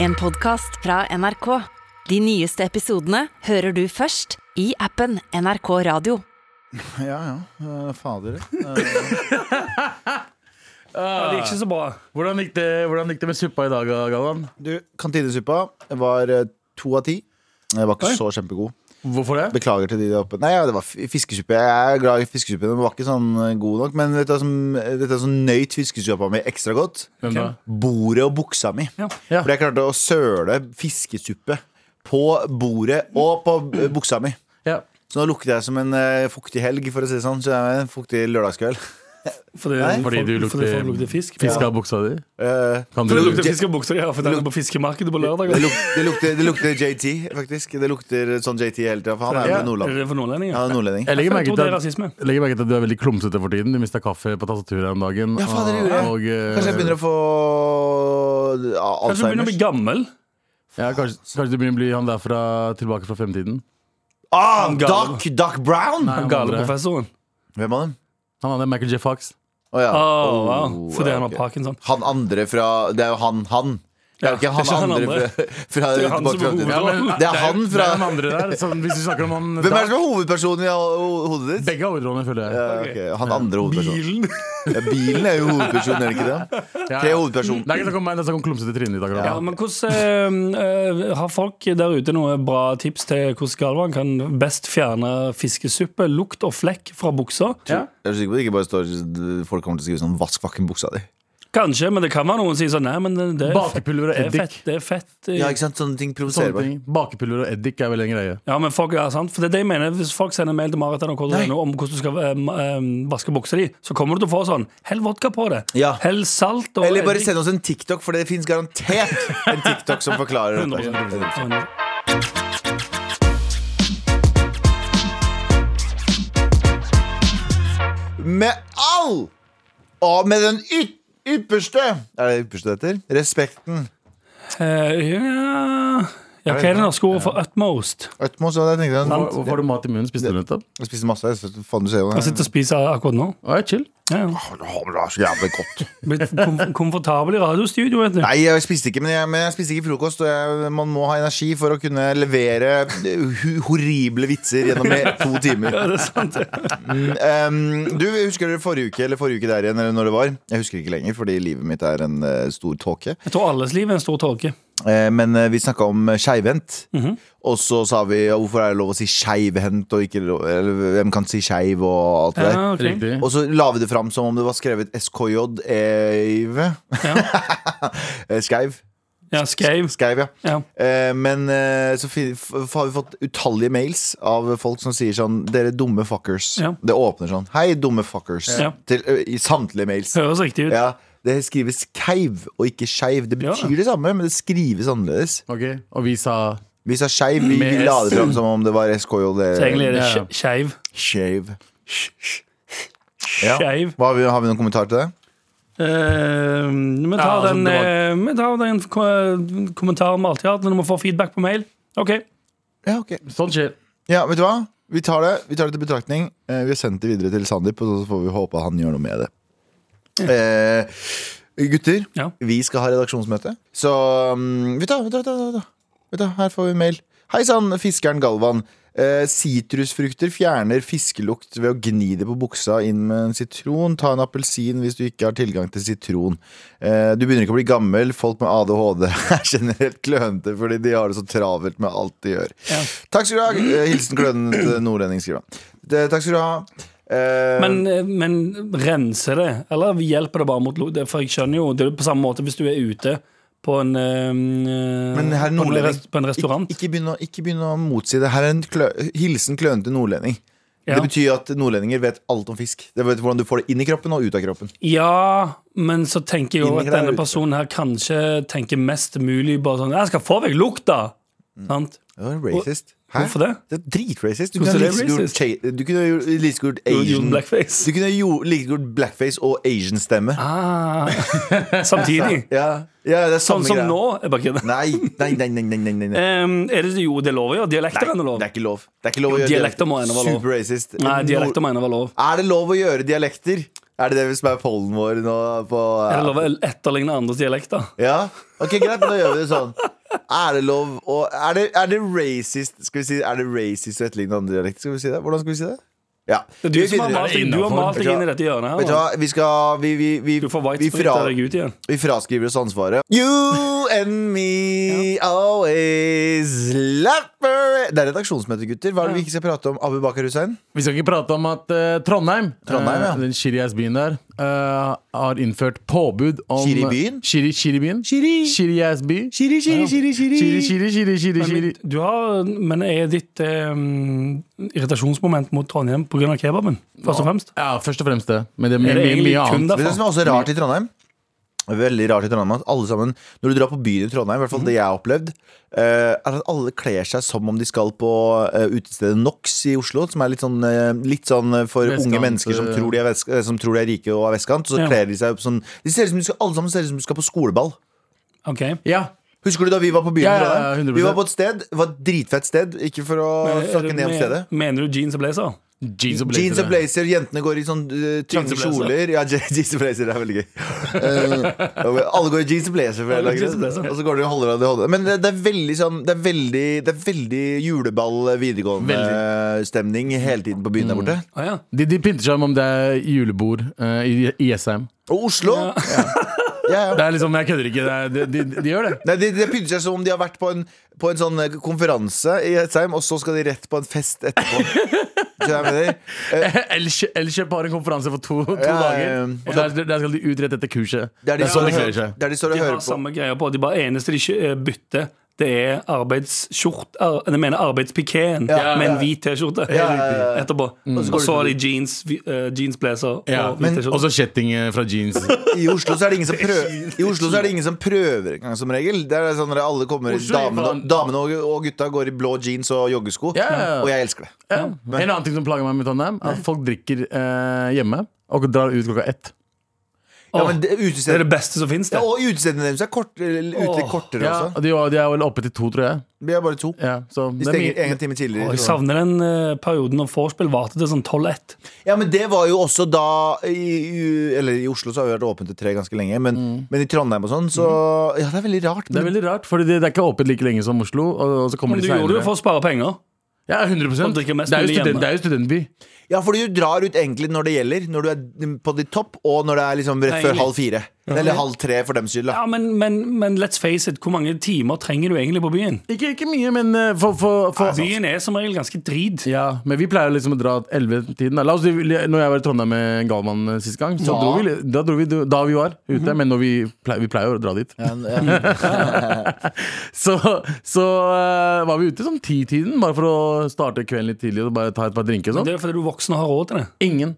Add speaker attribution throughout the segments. Speaker 1: En podcast fra NRK. De nyeste episodene hører du først i appen NRK Radio.
Speaker 2: Ja, ja. Eh, Fader.
Speaker 3: Ja, det gikk ikke så bra.
Speaker 4: Hvordan gikk, det, hvordan gikk det med suppa i dag, Galvan?
Speaker 2: Du, kantinesuppa var eh, to av ti. Jeg var ikke
Speaker 3: Oi.
Speaker 2: så kjempegod.
Speaker 4: Hvorfor det?
Speaker 2: Beklager til de der oppe. Nei, ja, det var f- fiskesuppe. Jeg er glad i fiskesuppe. Den var ikke sånn eh, god nok. Men vet du hva som, dette er sånn nøyt fiskesuppa mi ekstra godt.
Speaker 4: Hvem da?
Speaker 2: Bordet og buksa mi.
Speaker 3: Ja.
Speaker 4: Ja.
Speaker 2: For jeg klarte å søle fiskesuppe på bordet og på eh, buksa mi.
Speaker 4: Ja.
Speaker 2: Så nå lukter jeg som en eh, fuktig helg, for å si det sånn. Så jeg er en fuktig lørdagskveld.
Speaker 3: Fordi,
Speaker 2: Nei.
Speaker 4: Fordi du
Speaker 3: folk- fordi
Speaker 4: lukter-
Speaker 3: folk lukter fisk.
Speaker 4: Fiska av buksa di?
Speaker 2: Eh,
Speaker 4: Kan du,
Speaker 3: Fordi det lukter fisk og bukser. Ja, for den er på fiskemarkedet på lørdag.
Speaker 2: det, luk, det, lukter, det lukter JT, faktisk. Det lukter sånn JT hele tida, for han er
Speaker 3: Ja,
Speaker 2: fra Nordland.
Speaker 3: Er det for nordlendinger?
Speaker 2: Ja, det er nordlending.
Speaker 4: jeg legger
Speaker 3: Jeg
Speaker 4: merke
Speaker 3: tror
Speaker 4: til
Speaker 3: det er
Speaker 4: at,
Speaker 3: rasisme.
Speaker 4: jeg legger merke til at du er veldig klumsete for tiden. Du mista kaffe på tastaturet her om dagen.
Speaker 2: Ja, faen, det gjorde jeg.
Speaker 4: og, eh,
Speaker 2: Kanskje jeg begynner å få eh, ja,
Speaker 3: Kanskje du begynner å bli
Speaker 2: Alzheimer.
Speaker 3: gammel?
Speaker 4: ja, kanskje, kanskje du begynner å bli han der fra Tilbake fra fremtiden?
Speaker 2: Ah,
Speaker 3: Han gale.
Speaker 2: Doc, Doc Brown!
Speaker 4: Nei, han
Speaker 3: Gale
Speaker 4: andre.
Speaker 3: professoren.
Speaker 2: Hvem av dem?
Speaker 4: Han andre, Michael J. Fox.
Speaker 2: Å, ja.
Speaker 3: Å,
Speaker 2: Oh,
Speaker 3: Ah, wow. Fordi
Speaker 2: ja,
Speaker 3: han har
Speaker 2: ok.
Speaker 3: parkinson.
Speaker 2: Han andre fra Det er jo han, han. Det er jo ikke
Speaker 3: Ja,
Speaker 2: han
Speaker 3: det er ikke han
Speaker 2: andre
Speaker 3: andre.
Speaker 2: fra, fra
Speaker 3: er han
Speaker 2: Tilbake til
Speaker 3: som er
Speaker 2: fremtiden.
Speaker 3: hovedet. Ja, men-
Speaker 2: Det er han fra
Speaker 4: Det er han andre der. Sånn, hvis du snakker om han
Speaker 2: Hvem er det som er hovedpersonen i ho- hodet ditt?
Speaker 4: Begge har hovedrollene, føler jeg.
Speaker 2: Ja, ok, Han andre hovedpersonen.
Speaker 3: Bilen.
Speaker 2: Ja, bilen er jo hovedpersonen, er det ikke det?
Speaker 4: Ja.
Speaker 2: Tre hovedpersoner.
Speaker 4: Det er ikke snakk om meg, det er snakk om klumsete trynet ditt. akkurat
Speaker 3: Ja,
Speaker 4: nå.
Speaker 3: men hvordan eh, eh, Har folk der ute noen bra tips til hvordan Galvan kan best fjerne fiskesuppe, lukt og flekk fra buksa?
Speaker 2: Jeg er så sikker på at det ikke bare står folk kommer til å skrive sånn 'vask fucking buksa di'.
Speaker 3: Kanskje, men det kan være noen som sier sånn Nei, men det, det, er, fett,
Speaker 4: Bakepulver og
Speaker 3: det er
Speaker 4: eddik.
Speaker 3: fett. Det er fett
Speaker 2: Ja,
Speaker 3: eh,
Speaker 2: ikke sant? Sånne ting provoserer
Speaker 4: Sånne
Speaker 2: meg.
Speaker 4: ting. Bakepulver og eddik er vel en greie.
Speaker 3: Ja, men folk, ja, sant? For det er det jeg mener Hvis folk sender mail til Marit om hvordan du skal eh, ma- eh, vaske buksa di, så kommer du til å få sånn Hell vodka på det.
Speaker 2: Ja.
Speaker 3: Hell salt og
Speaker 2: Eller bare
Speaker 3: eddik.
Speaker 2: send oss en TikTok, for det fins garantert en TikTok som forklarer dette.
Speaker 3: 100%.
Speaker 2: Med all og med den yt ypperste Er det ypperste det heter? Respekten.
Speaker 3: Eh, ja. ja, hva er det norske ordet for utmost?
Speaker 2: Øtmo, så jeg tenkte
Speaker 4: Hvor-
Speaker 2: jeg.
Speaker 4: Hvorfor har du mat i munnen? Spiste du nettopp?
Speaker 2: Jeg spiser masse. jeg synes- Faen, du ser jo
Speaker 3: Jeg
Speaker 2: det.
Speaker 3: sitter og spiser akkurat nå.
Speaker 4: Å, jeg er chill.
Speaker 3: Ja, ja.
Speaker 2: Åh, Det er så jævlig godt.
Speaker 3: Blitt kom komfortabel i radiostudio, vet du.
Speaker 2: Nei, jeg spiste ikke, men jeg, men jeg spiste ikke frokost. Og jeg, man må ha energi for å kunne levere hu- horrible vitser gjennom i to timer.
Speaker 3: Det er sant.
Speaker 2: Um, du, Husker dere forrige uke eller forrige uke der igjen, eller når det var? Jeg husker ikke lenger, fordi livet mitt er en eh, stor tåke.
Speaker 3: Jeg tror alles liv er en stor tåke.
Speaker 2: Eh, Men eh, vi snakka om eh, skeivhendt.
Speaker 3: Mhm.
Speaker 2: Og så sa vi ja, hvorfor er det lov å si skeivhendt, og ikke lov, eller hvem kan si skeiv og alt det der.
Speaker 3: Ja, ok.
Speaker 4: Riktig.
Speaker 2: Og så la vi det fram som om det var skrevet SKJ-eiv. E Eh, Skeiv.
Speaker 3: Ja, skeiv.
Speaker 2: Skeiv, ja.
Speaker 3: Ja.
Speaker 2: Eh, Men eh, så fi- f- har vi fått utallige mails av folk som sier sånn Dere dumme fuckers.
Speaker 3: Ja.
Speaker 2: Det åpner sånn. Hei, dumme fuckers.
Speaker 3: Ja.
Speaker 2: Til, ø, I samtlige mails.
Speaker 3: Høres riktig ut.
Speaker 2: Ja, det skrives keiv og ikke skeiv. Det
Speaker 3: Ja.
Speaker 2: betyr det samme, men det skrives annerledes.
Speaker 4: Ok, Og vi sa
Speaker 2: Vi sa skeiv, vi, vi
Speaker 4: Med
Speaker 2: la
Speaker 4: S.
Speaker 2: det fram som om det var SKJ.
Speaker 3: Så egentlig er det
Speaker 4: Ja.
Speaker 3: sk- skeiv.
Speaker 2: E. Skeiv. Ja.
Speaker 3: Skeiv.
Speaker 2: Hva Har, vi, har vi noen kommentar til det?
Speaker 3: Eh, vi tar
Speaker 4: Ja, altså,
Speaker 3: den,
Speaker 4: det var-
Speaker 3: eh, vi tar den ko- kommentaren vi alltid har hatt når vi får feedback på mail. OK.
Speaker 2: Ja, ok
Speaker 4: Sånn skjer.
Speaker 2: Ja, vet du hva? Vi tar det, vi tar det til betraktning. Eh, vi har sendt det videre til Sandeep, og så får vi håpe han gjør noe med det. Eh, gutter,
Speaker 3: Ja.
Speaker 2: vi skal ha redaksjonsmøte. Så mm, vet, du, hva, vet, du, vet, du, vet, du, vet du, her får vi mail. Hei sann, fiskeren Galvan. Eh, Sitrusfrukter fjerner fiskelukt ved å gni det på buksa inn med en sitron. Ta en appelsin hvis du ikke har tilgang til sitron. Eh, du begynner ikke å bli gammel. Folk med ADHD er generelt klønete fordi de har det så travelt med alt de gjør.
Speaker 3: Ja.
Speaker 2: Takk skal du ha. Eh, Hilsen klønete nordlending, skriver han. Det- Takk skal du ha. Eh,
Speaker 3: Men, eh, men renser det, eller hjelper det bare mot lo- det- For jeg skjønner jo, det er jo på samme måte hvis du er ute på en, eh,
Speaker 2: Men herr
Speaker 3: på en,
Speaker 2: nordlending,
Speaker 3: rest- på en restaurant.
Speaker 2: Ikke, ikke, begynn å, ikke begynn å motsi det. Her er en klø, hilsen klønete nordlending.
Speaker 3: Ja.
Speaker 2: Det betyr at nordlendinger vet alt om fisk. Det vet Hvordan du får det inn i kroppen og ut av kroppen.
Speaker 3: Ja, men så tenker jeg jo
Speaker 2: Inni
Speaker 3: at
Speaker 2: der
Speaker 3: denne
Speaker 2: ute.
Speaker 3: personen her kanskje tenker mest mulig bare sånn Jeg skal få vekk lukta!
Speaker 2: Mm.
Speaker 3: Sant?
Speaker 2: Det var racist.
Speaker 3: Hvorfor det?
Speaker 2: Det er dritracist. Du
Speaker 3: Hvorfor
Speaker 2: kunne ha
Speaker 3: er det
Speaker 2: like gjort
Speaker 3: racist?
Speaker 2: cha- du kunne ha gjort- like så gjort
Speaker 3: Jo, jo,
Speaker 2: Asian
Speaker 3: blackface.
Speaker 2: Du kunne ha jo- like så gjort blackface og Asian-stemme.
Speaker 3: Ah, samtidig.
Speaker 2: Ja. ja, det er samme
Speaker 3: Sånn som
Speaker 2: greia.
Speaker 3: nå. Jeg bare kødder.
Speaker 2: Nei, nei, nei, nei, nei, nei, nei. nei.
Speaker 3: Em, Ehm, er det jo det lover, ja? Dialekter kan
Speaker 2: Det
Speaker 3: det lov.
Speaker 2: er ikke lov. Det er ikke lov å
Speaker 3: Jo,
Speaker 2: gjøre
Speaker 3: dialekter må
Speaker 2: dialekter.
Speaker 3: ennå være lov.
Speaker 2: Super racist.
Speaker 3: Nei,
Speaker 2: Nord-
Speaker 3: dialekter mener jeg var lov.
Speaker 2: Er det lov å gjøre dialekter? Er det det som er pollen vår nå? På,
Speaker 3: Er det lov å etterligne andres dialekter?
Speaker 2: Ja? Ok, greit, men da gjør vi det sånn. Er det lov å Er det, er det racist Skal vi si Er det racist å etterligne andre dialekter? Skal vi si det? Hvordan skal vi si det? Ja.
Speaker 3: Det er du
Speaker 2: Vi
Speaker 3: som har
Speaker 2: begynner.
Speaker 3: malt deg, du har malt deg inn i dette hjørnet.
Speaker 2: Vet du
Speaker 3: her
Speaker 2: hva, vi skal Vi, vi, vi,
Speaker 3: Du får
Speaker 2: vi, fra,
Speaker 3: whitesprite deg ut igjen.
Speaker 2: vi fraskriver oss ansvaret. You and me always love her Det er redaksjonsmøte, gutter. Hva er det vi ikke skal prate om? Abu Bakar Hussein?
Speaker 4: Vi skal ikke prate om at eh, Trondheim,
Speaker 2: Trondheim,
Speaker 4: eh,
Speaker 2: ja.
Speaker 4: den shitty-ass-byen der, eh, har innført påbud om
Speaker 2: Shitty-byen?
Speaker 4: Shitty- Shitty-byen?
Speaker 2: Shitty.
Speaker 4: Shitty-ass-by.
Speaker 2: Shiri, shiri, shiri,
Speaker 4: Shitty, shitty, shitty, shitty,
Speaker 3: Men,
Speaker 4: shitty.
Speaker 3: mitt- du har, men er ditt eh, irritasjonsmoment mot Trondheim pga. kebaben? Først og fremst?
Speaker 4: Ja, først og fremst det. Men det er,
Speaker 3: Er det
Speaker 4: mye, mye,
Speaker 3: egentlig
Speaker 4: mye
Speaker 3: kun
Speaker 4: annet.
Speaker 2: Vet du hva som
Speaker 3: derfor?
Speaker 2: er også rart i Trondheim? Veldig rart i Trondheim at alle sammen Når du drar på byen i Trondheim, i hvert fall
Speaker 4: Mhm.
Speaker 2: det jeg har opplevd, eh, er at alle kler seg som om de skal på eh, utestedet NOX i Oslo, som er litt sånn, eh, litt sånn eh, for
Speaker 4: Vestkant,
Speaker 2: unge mennesker som
Speaker 4: eh,
Speaker 2: tror, de er vesk, eh, som tror de er rike og er vestkant. Så
Speaker 3: Ja.
Speaker 2: kler de seg opp sånn de ser ut som de skal, Alle sammen ser ut som de skal på skoleball.
Speaker 3: Ok.
Speaker 4: Ja.
Speaker 2: Husker du da vi var på byen? i
Speaker 4: Ja, ja, ja,
Speaker 2: Trondheim?
Speaker 4: 100%.
Speaker 2: Vi var på et sted, det var et dritfett sted, ikke for å snakke ned om stedet.
Speaker 3: Eh, Mener du jeans og blazer?
Speaker 4: Jeans og blazer.
Speaker 2: Jeans og blazer, jentene går i sånn eh, trange
Speaker 3: Jeans og blazer.
Speaker 2: kjoler. Ja, je- jeans og blazer det er veldig gøy. Eh, alle går i jeans og blazer, for en eller annen
Speaker 3: Jeans og
Speaker 2: grunn.
Speaker 3: blazer.
Speaker 2: og så går de og holder av det i hånda. Men det, det er veldig sånn Det er veldig, det er veldig juleball videregående-stemning hele tiden på byen der borte.
Speaker 3: Å ja.
Speaker 4: De, de pynter seg om det er julebord eh, i, i Jessheim.
Speaker 2: Og Oslo! Ja. Ja, ja.
Speaker 4: Det er liksom, jeg kødder ikke. Det er, de, de, de gjør det.
Speaker 2: Nei, De, de pynter seg som om de har vært på en, på en sånn eh, konferanse i Jessheim, og så skal de rett på en fest etterpå. Skjønner du hva jeg mener?
Speaker 4: Elkjøp Elkjøp har en konferanse for to, to
Speaker 2: Ja, ja, ja.
Speaker 4: dager, og der, der skal de ut rett etter kurset.
Speaker 2: Det er de,
Speaker 4: sånn
Speaker 2: står
Speaker 4: de
Speaker 2: og hø-
Speaker 4: kler seg.
Speaker 2: det er de står
Speaker 3: De
Speaker 2: og
Speaker 3: har
Speaker 2: hører på.
Speaker 3: samme greia på. De bare eneste de ikke eh, bytter, det er arbeidsskjort ar, Jeg mener arbeidspikéen
Speaker 2: Ja,
Speaker 3: med en
Speaker 2: ja.
Speaker 3: hvit T-skjorte
Speaker 2: Ja, Mm. ja, ja.
Speaker 3: etterpå. Og så har de jeans, vi- eh, jeans blazer
Speaker 4: Ja,
Speaker 3: og hvit
Speaker 4: Og
Speaker 3: T-skjorte.
Speaker 4: så kjetting eh, fra jeans.
Speaker 2: I Oslo så er det ingen som prøver I Oslo så er det ingen som prøver engang, som regel. Det er sånn at alle kommer
Speaker 4: Oslo er
Speaker 2: Damene,
Speaker 4: faen-
Speaker 2: damene og, og gutta går i blå jeans og joggesko.
Speaker 4: Ja, ja, ja.
Speaker 2: Og jeg elsker det.
Speaker 4: Ja. En annen ting som plager meg med Trondheim, er at folk drikker eh, hjemme og drar ut klokka ett.
Speaker 2: Ja,
Speaker 3: Åh,
Speaker 2: men det,
Speaker 3: Det er
Speaker 2: utestedet,
Speaker 3: det beste som fins,
Speaker 2: ja,
Speaker 3: det.
Speaker 2: og utestedene deres er kort, eller ute
Speaker 3: Åh,
Speaker 2: kortere
Speaker 4: Ja,
Speaker 2: også.
Speaker 4: og de, var- de er vel oppe til to, tror jeg.
Speaker 2: Vi er bare to.
Speaker 4: Ja, så
Speaker 2: De
Speaker 4: det er
Speaker 2: stenger
Speaker 4: mye,
Speaker 2: en time
Speaker 3: Åh,
Speaker 2: tidligere.
Speaker 3: Jeg savner den eh, perioden når vorspiel varte til sånn 12-1.
Speaker 2: Ja, men det var jo også da i, i- Eller i Oslo så har vi vært åpent til tre ganske lenge, men, men i Trondheim og sånn, så Ja, det er veldig rart.
Speaker 4: Mm. det er
Speaker 2: Men,
Speaker 4: veldig rart, for det, det er ikke åpent like lenge som Oslo. Og, og så kommer
Speaker 3: Men du
Speaker 4: de
Speaker 3: gjorde det jo
Speaker 4: senere.
Speaker 3: for å spare penger.
Speaker 4: Ja, 100
Speaker 3: Og
Speaker 4: Det
Speaker 3: drikker mest
Speaker 4: er jo
Speaker 3: mulig hjemme.
Speaker 4: student, det er jo studentby.
Speaker 2: ja, fordi du drar ut egentlig når det gjelder. Når du er på ditt topp, og når det er liksom rett før
Speaker 3: Egentlig.
Speaker 2: halv fire. Eller halv tre, for dems skyld. da
Speaker 3: Ja, men, men, men let's face it, hvor mange timer trenger du egentlig på byen?
Speaker 4: Ikke, ikke mye, men eh, for, for, for
Speaker 3: Byen er som regel ganske drit.
Speaker 4: Ja, men vi pleier liksom å dra 11-tiden. da. La oss si, når jeg var i Trondheim med Galvan eh, sist gang, så
Speaker 2: Ja. Mhm.
Speaker 4: dro vi, li- da dro vi d- da vi var ute. Men når vi pleier, vi pleier å dra dit. så så eh, var vi ute sånn 10-tiden, bare for å starte kvelden litt tidlig og bare ta et par drinker. og
Speaker 3: Det
Speaker 4: Sånn.
Speaker 3: er fordi du er voksen og har råd til det.
Speaker 4: Ingen.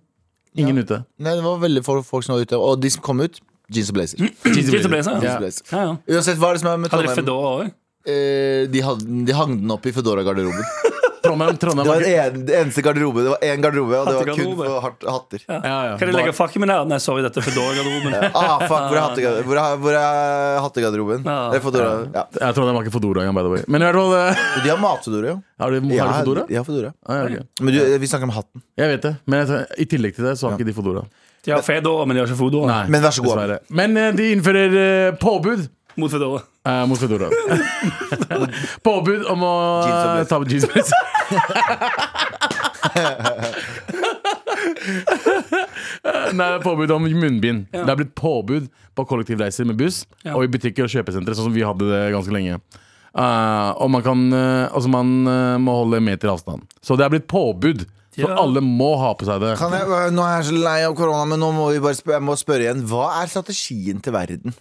Speaker 4: Ingen ute.
Speaker 2: Nei, det var veldig få folk som var ute. Og de som kom ut, jeans og blazer.
Speaker 3: Jeans og blazer.
Speaker 2: Jeans
Speaker 3: Ja.
Speaker 2: og blazer.
Speaker 3: Ja, ja.
Speaker 2: Uansett hva er det som er med
Speaker 3: Hadde de
Speaker 2: Trondheim.
Speaker 3: Fedora òg?
Speaker 2: Eh, de, had, de hang den opp i Fedora-garderoben.
Speaker 4: Trondheim, Trondheim
Speaker 2: Det var
Speaker 4: var ikke-
Speaker 2: en, det eneste garderobe. Det var én garderobe, og det var kun
Speaker 3: Hattegarderobe.
Speaker 2: for hat, hatter.
Speaker 4: ja, ja.
Speaker 3: Kan de legge fakken min her? Nei, sorry, dette er Fedora-garderoben.
Speaker 2: Ah, fuck, hvor er, hattegarderoben? Hvor er, hvor er hattegarderoben?
Speaker 3: Ja.
Speaker 2: Eller Fedora. Ja.
Speaker 4: Jeg tror den var ikke Fodora engang, by the way. Men i hvert fall eh,
Speaker 2: De har matfedora, jo.
Speaker 4: Har du, har
Speaker 2: Ja,
Speaker 4: du Fodora?
Speaker 2: de har Fedora.
Speaker 4: Ah, ja, ok.
Speaker 2: Men du, vi snakker om hatten.
Speaker 4: Jeg vet det, men jeg, tror- i tillegg til det så har ikke de Fodora.
Speaker 3: De har Fedora, men de har ikke Fodora.
Speaker 4: Nei,
Speaker 2: Men vær så god.
Speaker 4: dessverre. Men eh, de innfører eh, påbud.
Speaker 3: Mot Fedora.
Speaker 4: Eh, mot Fedora. Påbud om å
Speaker 2: Jeans og blazer.
Speaker 4: ta på jeans og blazer. Nei, påbud om munnbind. Det er blitt påbud på kollektivreiser med buss
Speaker 3: Ja.
Speaker 4: og i butikker og kjøpesentre, sånn som vi hadde det ganske lenge. Eh, og man, kan, eh, altså man eh, må holde en meter avstand. Så det er blitt påbud. Så
Speaker 3: Ja.
Speaker 4: alle må ha på seg det.
Speaker 2: Kan jeg, nå er jeg så lei av korona, men nå må vi bare sp jeg må spørre igjen. Hva er strategien til verden?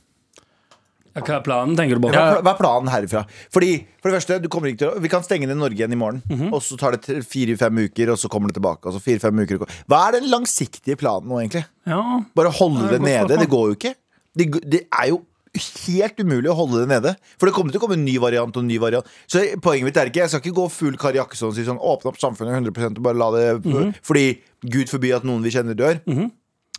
Speaker 3: Ja, hva er planen, tenker du på?
Speaker 2: Hva, er pla- hva er planen herifra? Fordi, for det første, du kommer ikke til å Vi kan stenge ned Norge igjen i morgen, og så tar det tre- fire-fem uker, og så kommer det tilbake. Og så fire-fem uker Hva er den langsiktige planen nå, egentlig?
Speaker 3: Ja.
Speaker 2: Bare holde det,
Speaker 3: det er et godt
Speaker 2: nede?
Speaker 3: spørsmål.
Speaker 2: Det går jo ikke. Det, g- det er jo helt umulig å holde det nede. For det kommer til å komme en ny variant og en ny variant. Så poenget mitt er ikke Jeg skal ikke gå full Kari Jakkesson og si sånn åpne opp samfunnet 100 og bare la det Fordi gud forby at noen vi kjenner, dør.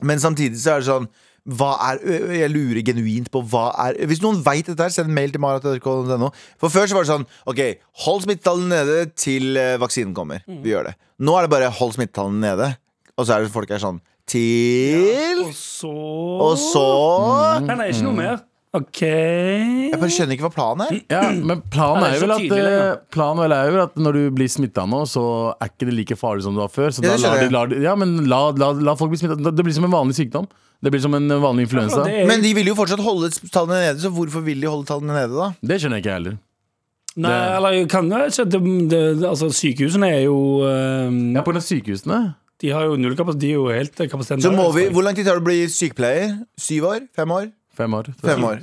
Speaker 2: Men samtidig så er det sånn hva er, ø- jeg lurer genuint på hva er Hvis noen veit dette, her, send en mail til marat.nrk.no. For før så var det sånn OK, hold smittetallene nede til eh, vaksinen kommer. Vi gjør det. Nå er det bare hold smittetallene nede. Og så er det folk er sånn til
Speaker 3: Og så
Speaker 2: Og så Mm.
Speaker 3: Men det er ikke noe mer. OK
Speaker 2: Jeg bare skjønner ikke hva planen er.
Speaker 4: Ja, men planen er,
Speaker 3: Ja, det er
Speaker 4: jo vel
Speaker 3: så
Speaker 4: at,
Speaker 3: tydelig lenger.
Speaker 4: eh, planen vel er jo at når du blir smitta nå, så er ikke det like farlig som det var før. Så
Speaker 2: Ja,
Speaker 4: da
Speaker 2: det
Speaker 4: lar
Speaker 2: skjønner
Speaker 4: de,
Speaker 2: jeg.
Speaker 4: lar de, ja, men la, la, la folk bli smitta. Det blir som en vanlig sykdom. Det blir som en vanlig influensa.
Speaker 3: Det
Speaker 4: Det,
Speaker 3: er,
Speaker 2: altså. Men de vil jo fortsatt holde tallene nede, så hvorfor vil de holde tallene nede, da?
Speaker 4: skjønner jeg ikke jeg heller.
Speaker 3: nei, eller jeg kan jo ikke det, det, Altså, sykehusene er jo eh,
Speaker 4: Ja, på grunn av sykehusene.
Speaker 3: De har jo null kapasitet. De er jo helt eh, kapasiteten
Speaker 2: Så
Speaker 3: der,
Speaker 2: må vi,
Speaker 3: altså.
Speaker 2: Hvor lang tid tar det å bli sykepleier? Syv år? Fem år?
Speaker 4: Fem år.
Speaker 2: Fem år.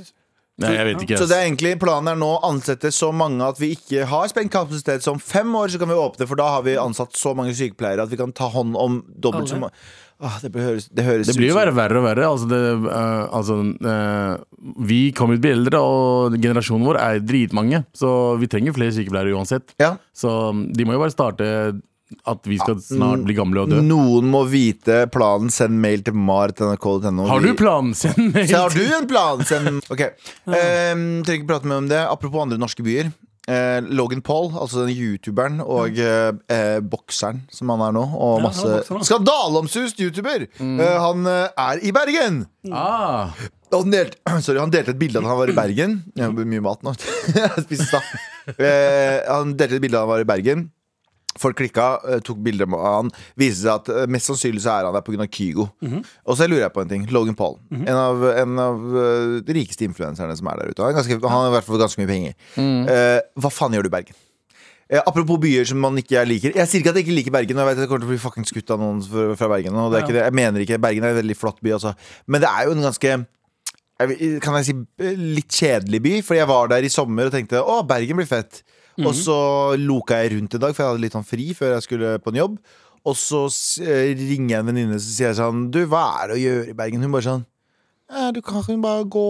Speaker 4: Nei, jeg vet ikke.
Speaker 2: Så
Speaker 4: ass.
Speaker 2: det er egentlig planen er nå å ansette så mange at vi ikke har sprengt kapasitet. Så om fem år så kan vi åpne, for da har vi ansatt så mange sykepleiere at vi kan ta hånd om dobbelt så
Speaker 3: Alle.
Speaker 2: mange. Åh, det, bør høres, det høres
Speaker 4: Det blir jo
Speaker 2: ut som-
Speaker 4: verre og verre og verre. Altså det, eh, altså, eh, vi kommer til å bli eldre, og generasjonen vår er dritmange. Så vi trenger flere sykepleiere uansett.
Speaker 2: ja.
Speaker 4: Så um, de må jo bare starte at vi skal snart bli gamle og dø.
Speaker 2: Noen må vite planen. Send mail til mar.nrk.no.
Speaker 4: Har du planen sin?
Speaker 2: Så har du en plan? Send Ok. Um, trenger ikke prate mer om det. Apropos andre norske byer. Eh, Logan Paul, altså den youtuberen og eh, eh, bokseren som han er nå, og
Speaker 3: Ja, han Mm. er
Speaker 2: masse
Speaker 3: bokser nå.
Speaker 2: Skandaleomsust youtuber! Eh, han eh, er i Bergen!
Speaker 4: Ah,
Speaker 2: Og Han delte, sorry, han delte et bilde av at han var i Bergen. Jeg har mye mat nå. Jeg spiser stapp. Eh, han delte et bilde av at han var i Bergen. Folk klikka, eh, tok bilder av han. Viste seg at eh, mest sannsynlig så er han der pga. Kygo. Og så lurer jeg på en ting. Logan Paul. En av, en av eh, de rikeste influenserne som er der ute. Han, er ganske, han har i hvert fall ganske mye penger. Eh, hva faen gjør du i Bergen? Eh, apropos byer som man ikke jeg liker. Jeg sier ikke at jeg ikke liker Bergen. Og jeg vet at jeg kommer til å bli fucking skutt av noen fra, fra Bergen. Og det er ikke det. Jeg mener ikke Bergen er en veldig flott by, altså. Men det er jo en ganske jeg, vil- kan jeg si, eh, litt kjedelig by. Fordi jeg var der i sommer og tenkte å, Bergen blir fett.
Speaker 4: Mhm.
Speaker 2: Og så loka jeg rundt en dag, for jeg hadde litt sånn fri før jeg skulle på en jobb. Og så s- eh, ringer jeg en venninne og sier jeg sånn Du, hva er det å gjøre i Bergen? Hun bare sånn «Eh, Du kan jo bare gå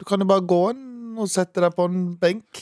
Speaker 2: Du kan jo bare gå en og sette deg på en benk.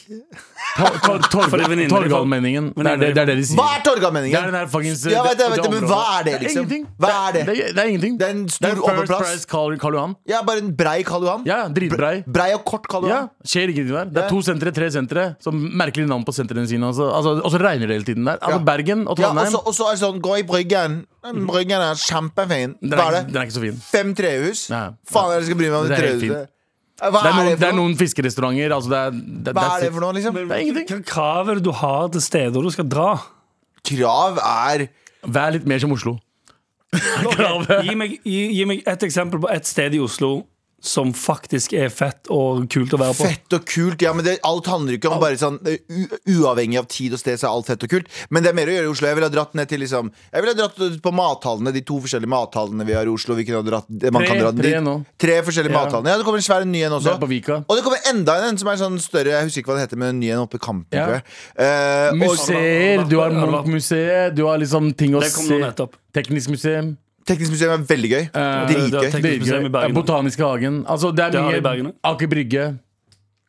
Speaker 4: Tor- Tor- Torg-
Speaker 3: For det er venninner i folk.
Speaker 4: Torgallmenningen. Det, er det det er det de sier.
Speaker 2: Hva er Torgallmenningen?
Speaker 4: Det er den her fuckings-
Speaker 2: Ja, vet jeg, vet jeg, men
Speaker 4: det
Speaker 2: hva er
Speaker 4: området.
Speaker 2: det, liksom?
Speaker 4: ingenting.
Speaker 2: Hva er det?
Speaker 4: Det, det er ingenting.
Speaker 2: Det er en stor
Speaker 4: Det er First
Speaker 2: overplass.
Speaker 4: Price Karl, Karl Johan.
Speaker 2: Ja, bare en brei Karl Johan.
Speaker 4: Ja, ja, dritbrei.
Speaker 2: Brei og kort Karl
Speaker 4: Ja,
Speaker 2: Johan.
Speaker 4: skjer ingenting der. Det
Speaker 2: Ja.
Speaker 4: er to sentre, tre sentre. Så merkelig navn på sentrene sine. Altså. Altså, og så regner det hele tiden der. Altså
Speaker 2: Ja.
Speaker 4: Bergen og
Speaker 2: Ja, og
Speaker 4: Trondheim.
Speaker 2: så- og så er det sånn Gå i Bryggen. Den Bryggen er kjempefin.
Speaker 4: den,
Speaker 2: Hva er
Speaker 4: er,
Speaker 2: det?
Speaker 4: ikke- den er ikke så fin.
Speaker 2: Fem trehus?
Speaker 4: Nei.
Speaker 2: Faen er det jeg skal bry meg om
Speaker 4: Det
Speaker 2: det
Speaker 4: er helt
Speaker 2: trehuset? Hva
Speaker 4: Det er noen, det
Speaker 2: for
Speaker 4: er
Speaker 2: noe?
Speaker 4: noen fiskerestauranter. Altså, det er, det,
Speaker 2: Hva
Speaker 4: that's
Speaker 2: er det
Speaker 4: it.
Speaker 2: for noe, liksom?
Speaker 4: Det er ingenting.
Speaker 3: Hva krav er det du har til steder du skal dra?
Speaker 2: Krav er
Speaker 4: Vær litt mer som Oslo.
Speaker 3: Gi meg, gi, gi meg et eksempel på et sted i Oslo som faktisk er fett og kult å være på.
Speaker 2: fett og kult. Ja, men det, alt handler ikke om bare sånn eh, u Uavhengig av tid og sted, så er alt fett og kult. Men det er mer å gjøre i Oslo. Jeg ville ha dratt ned til liksom Jeg ville ha dratt ut på mathallene, de to forskjellige mathallene vi har i Oslo. Vi kunne ha dratt, man
Speaker 4: Tre-
Speaker 2: kan dra
Speaker 4: tre
Speaker 2: dit.
Speaker 4: nå.
Speaker 2: Tre forskjellige
Speaker 4: Ja.
Speaker 2: mathallene. Ja, det kommer en svær en ny en
Speaker 4: Det
Speaker 2: også.
Speaker 4: er på Vika.
Speaker 2: Og det kommer enda en en som er sånn større, jeg husker ikke hva den heter, men en ny en oppe i Kampen,
Speaker 4: Ja.
Speaker 2: tror jeg. Eh, og
Speaker 4: Museer. Du har Munch-museet. Du har liksom ting å
Speaker 3: Det kom nå
Speaker 4: se.
Speaker 3: nettopp.
Speaker 4: Teknisk museum.
Speaker 2: Teknisk museum er veldig gøy.
Speaker 4: Eh,
Speaker 3: det- det er
Speaker 2: Dritgøy.
Speaker 3: tek- Teknisk museum i Bergen.
Speaker 4: Dritgøy. Botaniske hagen. Altså, det er
Speaker 3: Det har de i Bergen,
Speaker 4: mye
Speaker 3: da.
Speaker 4: Aker Brygge.
Speaker 2: Det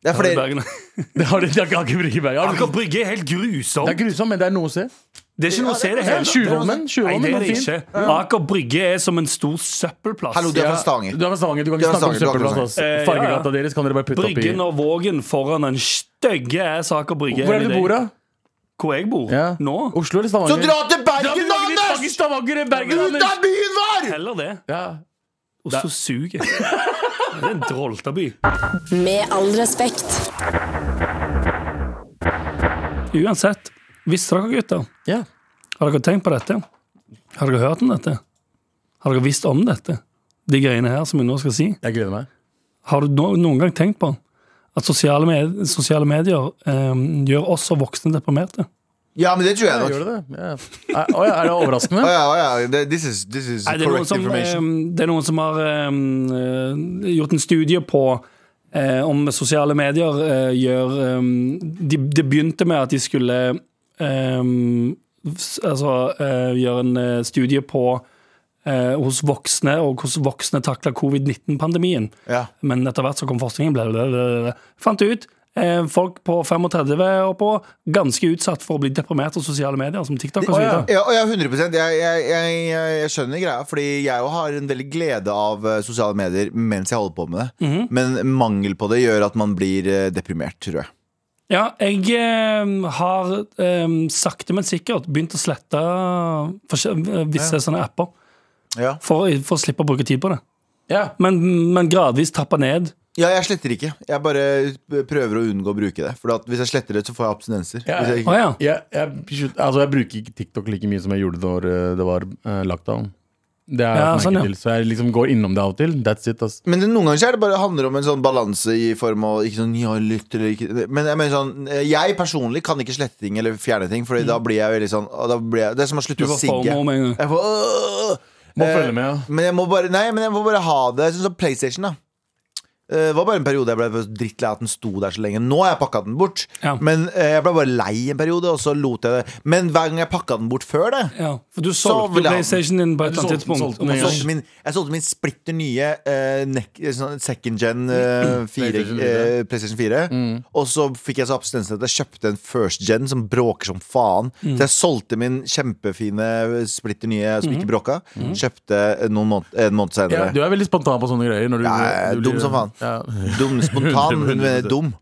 Speaker 2: er
Speaker 3: Her i
Speaker 2: flere
Speaker 3: Bergen.
Speaker 4: Det har de, det er ikke Aker Brygge i Bergen. Har du-
Speaker 3: Aker Brygge er helt
Speaker 4: Det
Speaker 3: grusomt.
Speaker 4: er grusomt, men det er noe å se.
Speaker 3: Det er ikke noe å se i det hele tatt.
Speaker 4: Tjuvholmen.
Speaker 3: Nei, det
Speaker 4: Tjuvholmen
Speaker 3: er
Speaker 4: var
Speaker 3: det
Speaker 4: fin.
Speaker 3: ikke. Aker Brygge er som en stor søppelplass.
Speaker 2: Hallo, du er fra Stavanger.
Speaker 4: Du er fra Stavanger, du kan
Speaker 2: Du er
Speaker 4: ikke
Speaker 2: fra
Speaker 4: snakke om
Speaker 2: Stavanger, du er fra
Speaker 4: søppelplass. ass.
Speaker 3: Stavanger. Eh, ja,
Speaker 4: Fargegata
Speaker 3: ja.
Speaker 4: deres kan dere bare putte oppi.
Speaker 3: Bryggen og Vågen foran den stygge ass Aker Brygge.
Speaker 4: Hvor er det du bor, da?
Speaker 3: Hvor jeg bor?
Speaker 4: Ja.
Speaker 3: Nå?
Speaker 4: Oslo eller
Speaker 2: Så
Speaker 4: Stavanger?
Speaker 2: dra til
Speaker 4: Ja, men
Speaker 2: Bergen,
Speaker 4: det
Speaker 2: da,
Speaker 4: er ikke
Speaker 2: Anders!
Speaker 4: fucking Stavanger eller Bergen,
Speaker 2: Ut
Speaker 4: Anders!
Speaker 2: av byen vår!
Speaker 3: Heller det.
Speaker 4: Ja.
Speaker 3: Oslo suger. Det er en droltaby.
Speaker 5: Med all respekt.
Speaker 3: Uansett, visste dere gutter?
Speaker 4: ja.
Speaker 3: Har dere tenkt på dette? Har dere hørt om dette? Har dere visst om dette? De greiene her som jeg nå skal si.
Speaker 4: Jeg gleder meg.
Speaker 3: Har du no noen gang tenkt på at sosiale, med sosiale medier eh, gjør oss og voksne deprimerte?
Speaker 2: Ja, men det tror jeg
Speaker 4: Ja,
Speaker 2: nok.
Speaker 4: gjør du det? Ja. Er, å, ja, er det overraskende?
Speaker 2: Å ja, å ja. det- This is, this is
Speaker 3: Nei, det, er noen
Speaker 2: correct
Speaker 3: som,
Speaker 2: information.
Speaker 3: eh, det er noen som har ehm, eh, gjort en studie på eh, om sosiale medier eh, gjør eh, de, Det begynte med at de skulle eh, s- altså, eh, gjøre en eh, studie på eh, hos voksne og hvordan voksne takler covid-19-pandemien.
Speaker 2: Ja.
Speaker 3: Men etter hvert så kom forskningen ble, ble, ble, ble. Fant ut eh, folk på 35 og på ganske utsatt for å bli deprimert av sosiale medier, som TikTok og så
Speaker 4: Å, ja.
Speaker 3: videre.
Speaker 2: Ja, og ja, 100 jeg, jeg, jeg, jeg, jeg skjønner greia, fordi jeg jo har en veldig glede av eh, sosiale medier mens jeg holder på med det. Men mangel på det gjør at man blir eh, deprimert, tror jeg.
Speaker 3: Ja, jeg eh, har ehm, eh, sakte, men sikkert begynt å slette forskjell- visse sånne apper.
Speaker 2: Ja.
Speaker 3: for, for å slippe å bruke tid på det.
Speaker 4: Ja.
Speaker 3: Men, men gradvis trappe ned.
Speaker 2: Ja, jeg sletter ikke. Jeg bare eh, prøver å unngå å bruke det. For at hvis jeg sletter det, så får jeg abstinenser.
Speaker 4: Ja,
Speaker 2: Hvis jeg
Speaker 3: Å
Speaker 2: ikke...
Speaker 3: ja.
Speaker 4: Jeg, jeg, slutt- altså jeg bruker ikke TikTok like mye som jeg gjorde da eh, det var eh, lockdown. Det er
Speaker 3: Ja,
Speaker 4: jeg
Speaker 3: sånn, ja.
Speaker 4: merket til, Så jeg liksom går innom det av og til. That's it. ass.
Speaker 2: Men det, noen ganger så er det bare handler om en sånn balanse i form av Ikke sånn ja, lytt eller ikke Men jeg mener sånn Jeg personlig kan ikke slette ting eller fjerne ting, Fordi
Speaker 4: Mm.
Speaker 2: da blir jeg veldig sånn å, da blir jeg, Det er som å
Speaker 3: Du
Speaker 2: slutte å
Speaker 3: var
Speaker 2: sigge.
Speaker 3: former med en gang.
Speaker 2: Jeg får, «Åh!»
Speaker 4: Må
Speaker 2: Eh,
Speaker 4: følge med, ja.
Speaker 2: Men jeg må bare Nei, men jeg må bare ha det Sånn som PlayStation, da. Eh, Det var bare en periode jeg ble drittlei av at den sto der så lenge. Nå har jeg pakka den bort,
Speaker 3: Ja.
Speaker 2: men eh, jeg ble bare lei en periode, og så lot jeg det. Men hver gang jeg pakka den bort før det
Speaker 3: Ja, for du
Speaker 2: vil
Speaker 3: solgte
Speaker 2: jeg ha den.
Speaker 3: PlayStation din på et
Speaker 4: Du
Speaker 3: eller
Speaker 4: solgte-
Speaker 3: annet tidspunkt.
Speaker 4: solgte den en
Speaker 2: jeg
Speaker 4: gang.
Speaker 2: solgte min, jeg solgte min splitter nye eh, nek, sånn second gen eh, fire,
Speaker 4: Mm. PlayStation
Speaker 2: eh,
Speaker 4: fire. Mm.
Speaker 2: PlayStation 4. Og så fikk jeg så abstinens at jeg kjøpte en first gen som bråker som faen.
Speaker 4: Mm.
Speaker 2: Så jeg solgte min kjempefine eh, splitter nye som ikke bråka. Kjøpte eh, noen måned, en måned
Speaker 4: Mm. Ja,
Speaker 2: senere.
Speaker 4: du er veldig spontan på sånne greier. Når du,
Speaker 2: Ja, jeg er
Speaker 4: du
Speaker 2: dum som faen.
Speaker 4: Ja.
Speaker 2: Dum, spontan,
Speaker 4: 100%.
Speaker 2: men dum.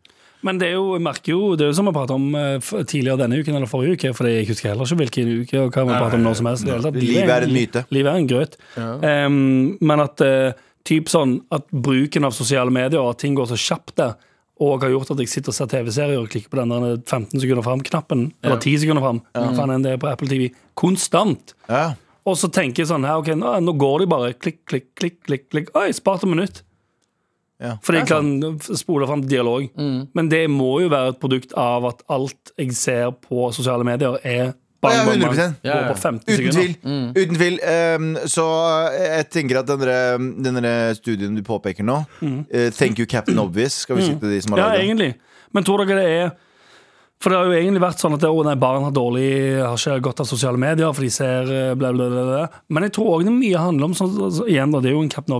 Speaker 3: Men det er jo, jeg merker jo, det er jo som vi pratet om eh, f- tidligere denne uken eller forrige uke, for jeg husker heller ikke hvilken uke og hva vi prater om når som helst. i det hele tatt.
Speaker 2: Livet er en myte.
Speaker 3: Livet er en grøt. Em, men at eh, typ sånn at bruken av sosiale medier og at ting går så kjapt der, og har gjort at jeg sitter og ser TV-serier og klikker på den der 15 sekunder fram-knappen, eller 10 sekunder fram, hva faen enn det er på Apple TV, konstant.
Speaker 2: Ja.
Speaker 3: Og så tenker jeg sånn her, ok, nå, nå går de bare klikk, klikk, klikk, klikk, klikk. Oi, spart et minutt.
Speaker 2: Ja.
Speaker 3: For jeg kan spole fram dialog. Men det må jo være et produkt av at alt jeg ser på sosiale medier, er bang,
Speaker 2: Ja,
Speaker 3: bang, bang.
Speaker 2: 100%.
Speaker 3: Går på 15
Speaker 2: Uten
Speaker 3: sekunder.
Speaker 2: tvil.
Speaker 4: Mm.
Speaker 2: Uten tvil. Ehm, så jeg tenker at denne, denne studien du påpeker nå,
Speaker 4: Mm.
Speaker 2: eh, Thank you Captain Obvious, skal vi si til de som har
Speaker 3: Ja,
Speaker 2: laget den.
Speaker 3: egentlig. Men tror dere det er For det har jo egentlig vært sånn at det, å, nei, barn har dårlig har ikke godt av sosiale medier, for de ser eh, bla, bla, bla. bla. Men jeg tror òg det mye handler om sånn, altså, igjen da, Det er jo en Captain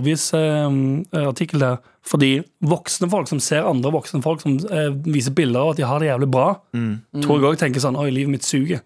Speaker 3: Obvious-artikkel der. Fordi voksne folk som ser andre voksne folk som eh, viser bilder av at de har det jævlig bra,
Speaker 2: Mm.
Speaker 3: tror jeg òg tenker sånn Oi, livet mitt suger.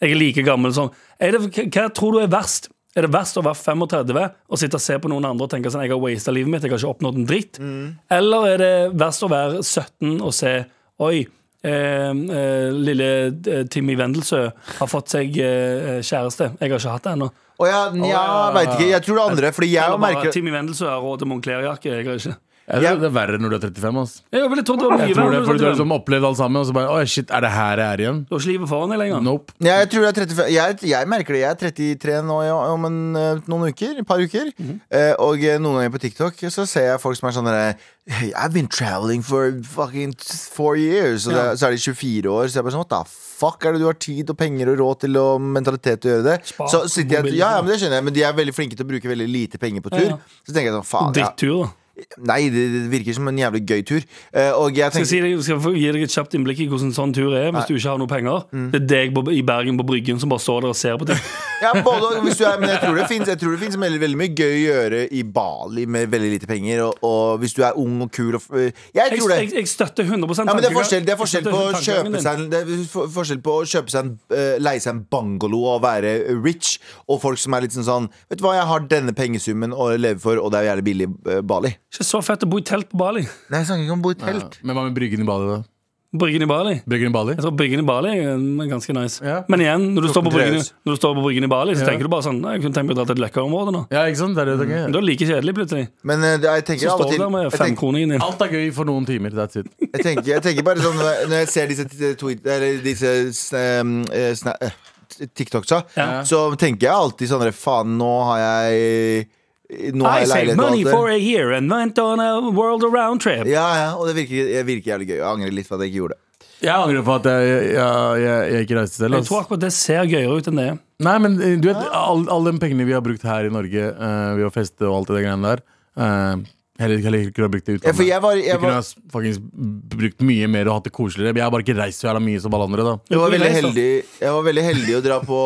Speaker 3: Jeg er like gammel som er det, hva- Hva tror du er verst? Er det verst å være 35 og sitte og se på noen andre og tenke sånn, jeg har wastet livet mitt, jeg har ikke oppnådd en dritt?
Speaker 4: Mm.
Speaker 3: Eller er det verst å være 17 og se Oi, eh, eh, lille eh, Timmy Wendelsø har fått seg eh, eh, kjæreste. Jeg har ikke hatt det ennå.
Speaker 2: Å ja, ja veit ikke. Jeg tror det andre. Fordi jeg jo
Speaker 3: Eller bare
Speaker 2: merker
Speaker 3: Timmy Wendelsø har råd til Moncler-jakke. Jeg har ikke
Speaker 4: Jeg
Speaker 2: Ja.
Speaker 4: tror det er verre når du er 35. ass.
Speaker 3: Jeg ville trodd det var mye
Speaker 4: Jeg tror det,
Speaker 3: verre.
Speaker 4: fordi Du har
Speaker 3: Du
Speaker 4: liksom opplevd alt sammen, og så bare Å, shit, er det her jeg er igjen?
Speaker 3: har ikke livet foran deg lenger.
Speaker 4: Nope.
Speaker 2: Ja, jeg, tror jeg, er 35, jeg, jeg merker det. Jeg er 33 nå ja, om en, eh, noen uker. Et par uker.
Speaker 3: Mhm.
Speaker 2: eh, og eh, noen ganger på TikTok så ser jeg folk som er sånn derre hey, I've been traveling for fucking t- four years. Og det, så er de 24 år. Så jeg bare sånn What the fuck er det du har tid og penger og råd til og mentalitet til å gjøre det?
Speaker 3: Spar
Speaker 2: så sitter jeg,
Speaker 3: mobilen.
Speaker 2: ja, ja, men det skjønner jeg. Men de er veldig flinke til å bruke veldig lite penger på tur.
Speaker 3: Ja.
Speaker 2: Så tenker jeg sånn Faen, ja.
Speaker 3: Drittur, da.
Speaker 2: Nei, det, det virker som en jævlig gøy tur. Eh, og jeg
Speaker 3: Skal jeg,
Speaker 2: tenker
Speaker 3: si deg, skal jeg få gi deg et kjapt innblikk i hvordan en sånn tur er hvis du ikke har noe penger?
Speaker 2: Mm.
Speaker 3: Det er deg på, i Bergen på Bryggen som bare står der og ser på ting.
Speaker 2: Ja, både, og. hvis du er, men jeg tror det finnes, jeg tror det finnes veldig, veldig mye gøy å gjøre i Bali med veldig lite penger. Og, og hvis du er ung og kul og f- Jeg
Speaker 3: Jeg,
Speaker 2: tror det.
Speaker 3: jeg, jeg støtter 100
Speaker 2: Ja, men det er
Speaker 3: tankegang-
Speaker 2: forskjell, det er forskjell
Speaker 3: jeg
Speaker 2: på å
Speaker 3: støtter tankegangen
Speaker 2: kjøpe
Speaker 3: din.
Speaker 2: seg en- Det er for- forskjell på å kjøpe seg en, eh, leie seg en bungalow og være rich, og folk som er litt sånn sånn Vet du hva, jeg har denne pengesummen å leve for, og det er jævlig billig eh, Bali.
Speaker 3: Ikke så fett å bo i telt på Bali.
Speaker 2: Nei, jeg snakker ikke om å bo i telt.
Speaker 4: Men hva med Bryggen i Bali, da?
Speaker 3: Bryggen i Bali.
Speaker 4: Bryggen i Bali?
Speaker 3: Jeg tror Bryggen i Bali er mm, ganske nice.
Speaker 4: Ja.
Speaker 3: Men igjen, når du, står på
Speaker 2: Klokken
Speaker 3: bryggen,
Speaker 2: tres.
Speaker 3: når du står på Bryggen i Bali, så
Speaker 4: Ja.
Speaker 3: tenker du bare sånn «Nei, Jeg kunne tenkt meg å dra til et Løkka-område nå.
Speaker 4: Ja, ikke sant? Det er det jeg tenker.
Speaker 3: Men det er like kjedelig plutselig.
Speaker 2: Men eh, det- jeg tenker
Speaker 3: Så
Speaker 2: av og
Speaker 3: står du
Speaker 2: til
Speaker 3: der med
Speaker 2: jeg tenker-
Speaker 3: femkroningen din.
Speaker 4: Alt er gøy for noen timer. That's it.
Speaker 2: Jeg tenker, jeg tenker bare sånn Når jeg- når jeg ser disse, t- tweet, eller disse sn- eh, sna- eh, TikToksa,
Speaker 3: Ja.
Speaker 2: så tenker jeg alltid sånn der, Faen, nå har jeg Nå har
Speaker 3: I
Speaker 2: jeg
Speaker 3: saved
Speaker 2: leilighet
Speaker 3: money
Speaker 2: og
Speaker 3: for
Speaker 2: alt det.
Speaker 3: a year and went on a world around trip.
Speaker 2: Ja, ja, og det virker, det virker jævlig gøy. Jeg angrer litt på at jeg ikke gjorde det.
Speaker 4: Jeg angrer på at jeg, jeg, jeg, jeg ikke reiste selv.
Speaker 3: Jeg
Speaker 4: ass.
Speaker 3: tror akkurat det ser gøyere ut enn det er.
Speaker 4: Nei, men eh, du vet, alle all de pengene vi har brukt her i Norge eh, ved å feste og alt det greiene der eh, Heller heller ikke kunne ha brukt det i
Speaker 2: Ja, for
Speaker 4: utlandet.
Speaker 2: jeg var,
Speaker 4: Vi
Speaker 2: jeg
Speaker 4: kunne
Speaker 2: var,
Speaker 4: ha s- faktisk brukt mye mer og hatt det koseligere. Jeg har bare ikke reist så jævla mye som alle andre. da
Speaker 2: jeg var
Speaker 3: Du
Speaker 2: veldig
Speaker 3: reiste.
Speaker 2: heldig Jeg var veldig heldig å dra på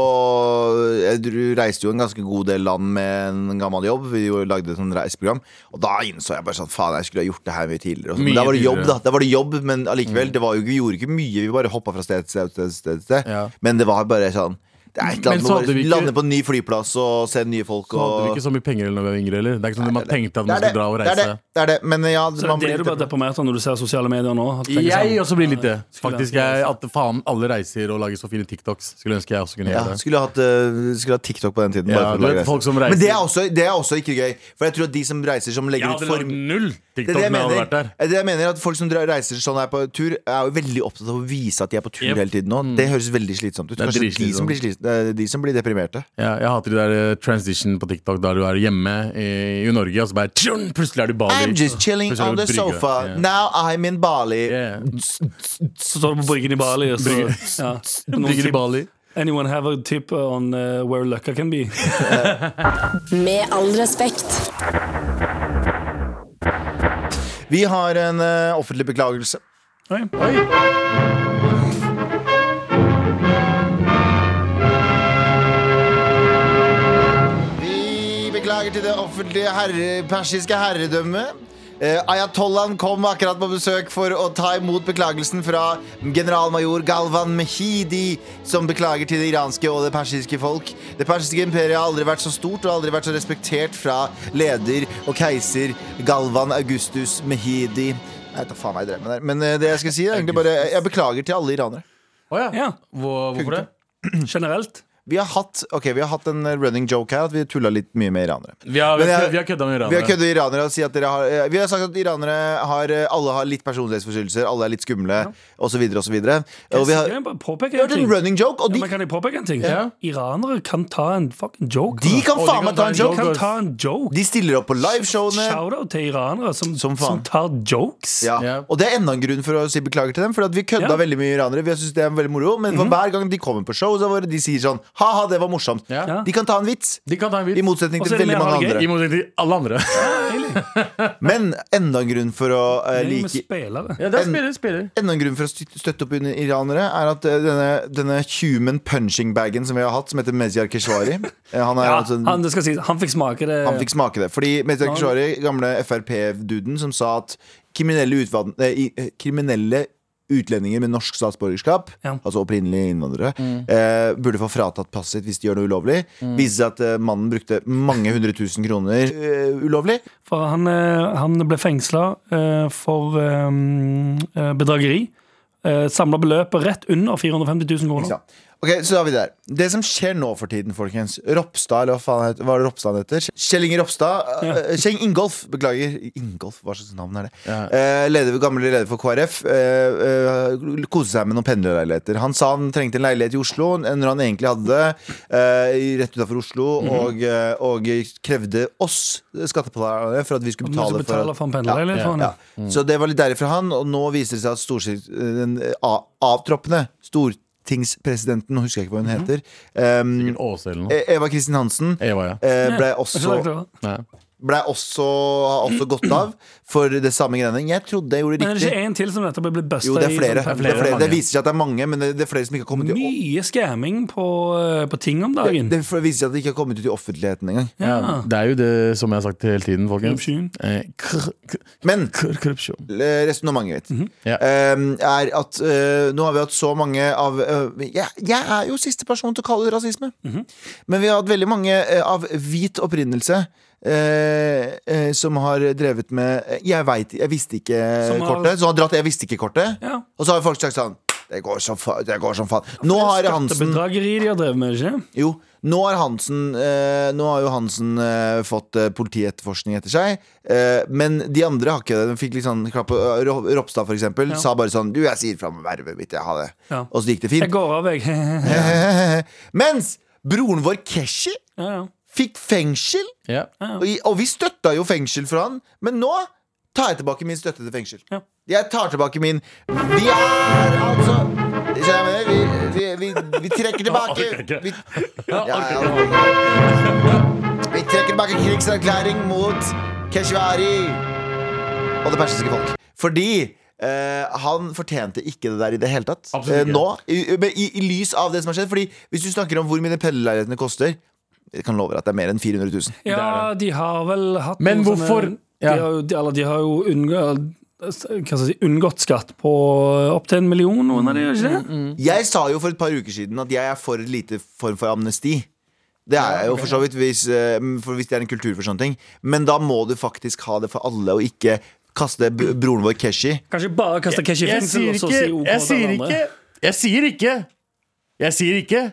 Speaker 2: Jeg dro- reiste jo en ganske god del land med en gammel jobb. Vi jo lagde et sånt reiseprogram. Og da innså jeg bare sånn Faen, jeg skulle ha gjort det her mye tidligere. Og sånn. men
Speaker 4: Mye
Speaker 2: da var det jobb,
Speaker 4: tidligere. Mm.
Speaker 2: da. Da var det jobb, men allikevel, det var jo, vi gjorde ikke mye. Vi bare hoppa fra sted til sted. til sted, til sted.
Speaker 4: Ja.
Speaker 2: Men det var bare sånn Det er et eller annet
Speaker 4: Men så
Speaker 2: med å
Speaker 4: hadde vi
Speaker 2: bare
Speaker 4: ikke-
Speaker 2: lande på en ny flyplass og se nye folk
Speaker 4: Så hadde vi
Speaker 2: og
Speaker 4: ikke så mye penger eller når vi var yngre heller. Det er ikke sånn at man tenkte at
Speaker 2: det er
Speaker 4: man skulle
Speaker 2: det,
Speaker 4: dra og
Speaker 2: det er
Speaker 4: reise.
Speaker 2: det, det er det. Men ja,
Speaker 3: Så
Speaker 2: man
Speaker 3: det er
Speaker 2: blir
Speaker 3: det du blir
Speaker 2: litt
Speaker 3: deprimert av når du ser sosiale medier nå? at tenker
Speaker 4: Jeg
Speaker 3: sånn,
Speaker 4: også blir litt det.
Speaker 3: skulle
Speaker 4: Faktisk,
Speaker 3: ønske
Speaker 4: jeg,
Speaker 3: det.
Speaker 4: At faen, alle reiser og lager så fine TikToks. Skulle ønske jeg også kunne
Speaker 2: ja,
Speaker 4: gjøre det.
Speaker 2: skulle hatt, eh, skulle hatt TikTok på den tiden.
Speaker 4: Ja,
Speaker 2: bare for å lage
Speaker 4: du vet,
Speaker 2: reiser.
Speaker 4: folk som reiser.
Speaker 2: Men det er, også, det er også ikke gøy. For jeg tror at de som reiser som legger
Speaker 4: Jeg
Speaker 2: ut
Speaker 4: hadde
Speaker 2: for
Speaker 4: lagd null
Speaker 2: det er
Speaker 4: TikTok
Speaker 2: det jeg
Speaker 4: når jeg hadde
Speaker 2: mener.
Speaker 4: vært der.
Speaker 2: Det er det jeg mener at Folk som dra- reiser sånn her på tur, er jo veldig opptatt av å vise at de er på tur
Speaker 4: Yep.
Speaker 2: hele tiden nå. Det høres veldig slitsomt ut.
Speaker 4: Mm. Det er
Speaker 2: Kanskje de
Speaker 4: dritslitsomt.
Speaker 2: som, blir slit, eh, de som blir deprimerte.
Speaker 4: Ja, jeg hater det der eh, transition på TikTok der du er hjemme i, i Norge, og så bare tjun, plutselig er du i Bali.
Speaker 2: I'm just chilling
Speaker 4: Plutselig er
Speaker 2: on the
Speaker 4: du på brygge.
Speaker 2: sofa.
Speaker 4: Ja.
Speaker 2: Now I'm in Bali.
Speaker 4: Yeah.
Speaker 3: Så står du på bryggen i Bali, og så ja. Noen
Speaker 4: Brygger i
Speaker 3: tips.
Speaker 4: Bali.
Speaker 3: Anyone have a tip on uh, where Løkka can be?
Speaker 5: Med all respekt.
Speaker 2: Vi har en eh, offentlig beklagelse.
Speaker 3: Oi.
Speaker 2: Vi beklager til det offentlige herre, persiske herredømmet. Eh, Ayatollahen kom akkurat på besøk for å ta imot beklagelsen fra generalmajor Galvan Mehidi, som beklager til det iranske og det persiske folk. Det persiske imperiet har aldri vært så stort og aldri vært så respektert fra leder og keiser Galvan Augustus Mehidi. Jeg tar faen meg i drømmen der. Men eh, det jeg skal si, er egentlig bare Jeg beklager til alle iranere.
Speaker 4: Å ja.
Speaker 3: Ja,
Speaker 4: Hvor, hvorfor det?
Speaker 3: generelt.
Speaker 2: Vi har hatt, ok, vi har hatt en running joke her at vi tulla litt mye med iranere.
Speaker 4: Vi har,
Speaker 2: Men jeg-
Speaker 4: vi har kødda med
Speaker 2: Vi har
Speaker 4: iranere.
Speaker 2: køddet iranere og sier at dere har eh, Vi har sagt at iranere har eh, Alle har litt personlighetsforstyrrelser, alle er litt skumle, og så videre og så videre. Og vi har
Speaker 3: Kan jeg bare påpeke
Speaker 2: hørt
Speaker 3: en
Speaker 2: en
Speaker 3: ting?
Speaker 2: running joke, og
Speaker 3: Ja,
Speaker 2: de,
Speaker 3: men kan jeg påpeke en ting?
Speaker 4: Ja.
Speaker 3: Iranere kan ta en fucking joke. altså.
Speaker 2: de kan
Speaker 4: Å, de
Speaker 2: faen
Speaker 4: kan
Speaker 2: meg
Speaker 4: ta
Speaker 2: ta en
Speaker 4: en
Speaker 2: joke!
Speaker 3: kan ta en joke.
Speaker 2: De stiller opp på liveshowene.
Speaker 3: Shout-out til iranere som,
Speaker 2: Som
Speaker 3: som,
Speaker 2: faen.
Speaker 3: tar jokes.
Speaker 2: Ja.
Speaker 4: Ja.
Speaker 2: Og det er enda en grunn for å si beklager til dem. For at vi kødda
Speaker 3: Ja. Mhm.
Speaker 2: veldig mye iranere. Vi synes det er veldig moro Men for hver gang de kommer på show, så våre, de sier sånn Ha-ha, det var morsomt.
Speaker 4: Ja.
Speaker 3: Ja.
Speaker 2: De kan ta en vits.
Speaker 4: De kan ta en
Speaker 2: I
Speaker 4: vits.
Speaker 2: motsetning
Speaker 3: Og
Speaker 2: til
Speaker 3: så er det
Speaker 2: veldig
Speaker 3: mer
Speaker 2: mange
Speaker 3: halvgøy.
Speaker 4: I
Speaker 2: andre.
Speaker 4: motsetning til alle andre.
Speaker 2: Men enda en grunn for å eh,
Speaker 3: Det er jo med
Speaker 2: like
Speaker 3: spillere.
Speaker 4: Ja,
Speaker 2: En-
Speaker 4: det er spiller, spiller.
Speaker 2: Enda en grunn for å støt- støtte opp under iranere er at eh, denne, denne human punching bagen som vi har hatt, som heter Mezyar Keshvari eh, Han, er
Speaker 3: Ja,
Speaker 2: altså,
Speaker 3: han,
Speaker 2: han,
Speaker 3: det skal sies, han fikk smake det.
Speaker 2: fikk smake det. Fordi Mezyar Keshvari, gamle Frp-duden, som sa at kriminelle, utvan- eh, i- eh, kriminelle utlendinger med norsk statsborgerskap,
Speaker 3: Ja. Mm.
Speaker 2: altså opprinnelige innvandrere, eh, burde få fratatt passet sitt hvis de gjør noe ulovlig. Viste seg at eh, mannen brukte mange hundre tusen kroner eh, ulovlig.
Speaker 3: For han, eh, han ble fengsla for eh, eh, bedrageri. Uh, Samla beløpet rett under 450 000
Speaker 2: Ikke
Speaker 3: kroner.
Speaker 2: sant? Ok, så da er vi der Det som skjer nå for tiden, folkens Ropstad, eller hva faen heter, hva er det Ropstad han heter? Kjell Inge Ropstad eh, Kjell Ingolf, beklager Ingolf, hva slags navn er det?
Speaker 4: Ja.
Speaker 2: Eh, leder, gammel leder for KrF eh, eh, Koste seg med noen pendlerleiligheter Han sa han trengte en leilighet i Oslo Når han egentlig hadde det eh, i- Rett utenfor Oslo og, eh, og krevde oss skattebetalere For at vi skulle
Speaker 3: Noen som
Speaker 2: betale for at-
Speaker 3: betaler for en pendler. eller
Speaker 4: ja,
Speaker 3: for han,
Speaker 2: ja. Mm. Så det var litt deilig fra han, og nå viser det seg at storsi- den eh, a- avtroppende stortingspresidenten, nå husker jeg ikke hva
Speaker 3: Mhm.
Speaker 2: hun heter, ehm,
Speaker 4: Åse eller noe.
Speaker 2: E- Eva Kristin Hansen,
Speaker 4: Eva, ja.
Speaker 2: eh, ble
Speaker 3: Jeg tror det
Speaker 2: også,
Speaker 3: var-
Speaker 4: Nei.
Speaker 2: ble også, har også gått av for det samme greiene. Jeg trodde jeg gjorde
Speaker 3: Men er det
Speaker 2: det
Speaker 3: ikke
Speaker 2: riktig.
Speaker 3: én til som dette ble busta
Speaker 2: Jo, det er flere. Det,
Speaker 4: er
Speaker 2: er flere. Det,
Speaker 4: mange.
Speaker 2: viser seg at det er mange, men det, det er flere som ikke har kommet ut i
Speaker 3: sånn Mye scamming på, eh, på ting om
Speaker 2: det,
Speaker 3: dagen.
Speaker 2: det viser seg at det ikke har kommet ut i offentligheten engang.
Speaker 4: Ja,
Speaker 3: Ja.
Speaker 4: det er jo det som jeg har sagt hele tiden, folkens.
Speaker 3: Korrupsjon.
Speaker 4: Eh, kr- kr-
Speaker 2: Men eh,
Speaker 4: kr- Korrupsjon.
Speaker 2: resonnementet mitt
Speaker 3: Mhm.
Speaker 4: Ja.
Speaker 2: ehm, er at eh, nå har vi hatt så mange av eh, jeg, jeg er jo siste person til å kalle det rasisme.
Speaker 3: Mhm.
Speaker 2: Men vi har hatt veldig mange eh, av hvit opprinnelse eh, eh, som har drevet med eh, 'jeg veit, jeg visste
Speaker 3: Som har-
Speaker 2: ikke'-kortet. Som har dratt 'jeg visste ikke'-kortet.
Speaker 3: Ja.
Speaker 2: Og så har folk sagt sånn det går, som fa det går som faen. Nå har Hansen
Speaker 3: Skattebedrageri de har drevet med, ikke
Speaker 2: Jo, nå har Hansen eh, Nå har jo Hansen eh, fått eh, politietterforskning etter seg. Eh, men de andre har ikke det. De fikk litt sånn klapp på Ro- Ropstad, for eksempel,
Speaker 3: Ja.
Speaker 2: sa bare sånn Du, jeg sier fra med vervet mitt, jeg har det.
Speaker 3: Ja.
Speaker 2: Og så gikk det
Speaker 3: Jeg
Speaker 2: fint.
Speaker 3: går av, jeg. ja,
Speaker 2: Mens broren vår Keshi
Speaker 3: ja.
Speaker 2: fikk fengsel,
Speaker 4: Ja.
Speaker 2: og, i- og vi støtta jo fengsel for han, men nå tar jeg tilbake min støtte til fengsel.
Speaker 3: Ja.
Speaker 2: Jeg tar tilbake min Vi er altså Skjønner jeg mener? Vi, vi, vi, vi trekker
Speaker 4: Jeg orker
Speaker 2: tilbake
Speaker 4: ikke.
Speaker 2: vi, ja, ja. Vi trekker tilbake krigserklæring mot Keshvari og det persiske folk. Fordi eh, han fortjente ikke det der i det hele tatt.
Speaker 4: Absolutt ikke.
Speaker 2: Eh, nå, i, i, i, I lys av det som har skjedd. Fordi hvis du snakker om hvor mye de pendlerleilighetene koster Jeg kan love deg at det er mer enn 400 000.
Speaker 3: ja, de har vel hatt
Speaker 4: Men
Speaker 3: noen
Speaker 4: hvorfor-
Speaker 3: Sånne,
Speaker 4: Ja.
Speaker 3: de, har jo, de, eller, de har jo unngå- hva skal jeg si, unngått skatt på opptil en million, noen av de, gjør ikke
Speaker 4: Mm,
Speaker 3: det?
Speaker 2: Jeg sa jo for et par uker siden at jeg er for et lite form for amnesti. Det er jeg jo for så vidt, hvis, eh, for hvis det er en kultur for sånne ting. Men da må du faktisk ha det for alle, og ikke kaste b- broren vår Keshi.
Speaker 3: Kanskje bare kaste cash i fengsel og så si OK
Speaker 4: jeg
Speaker 3: til
Speaker 4: sier
Speaker 3: den
Speaker 4: ikke
Speaker 3: andre.
Speaker 4: Jeg sier ikke Jeg sier ikke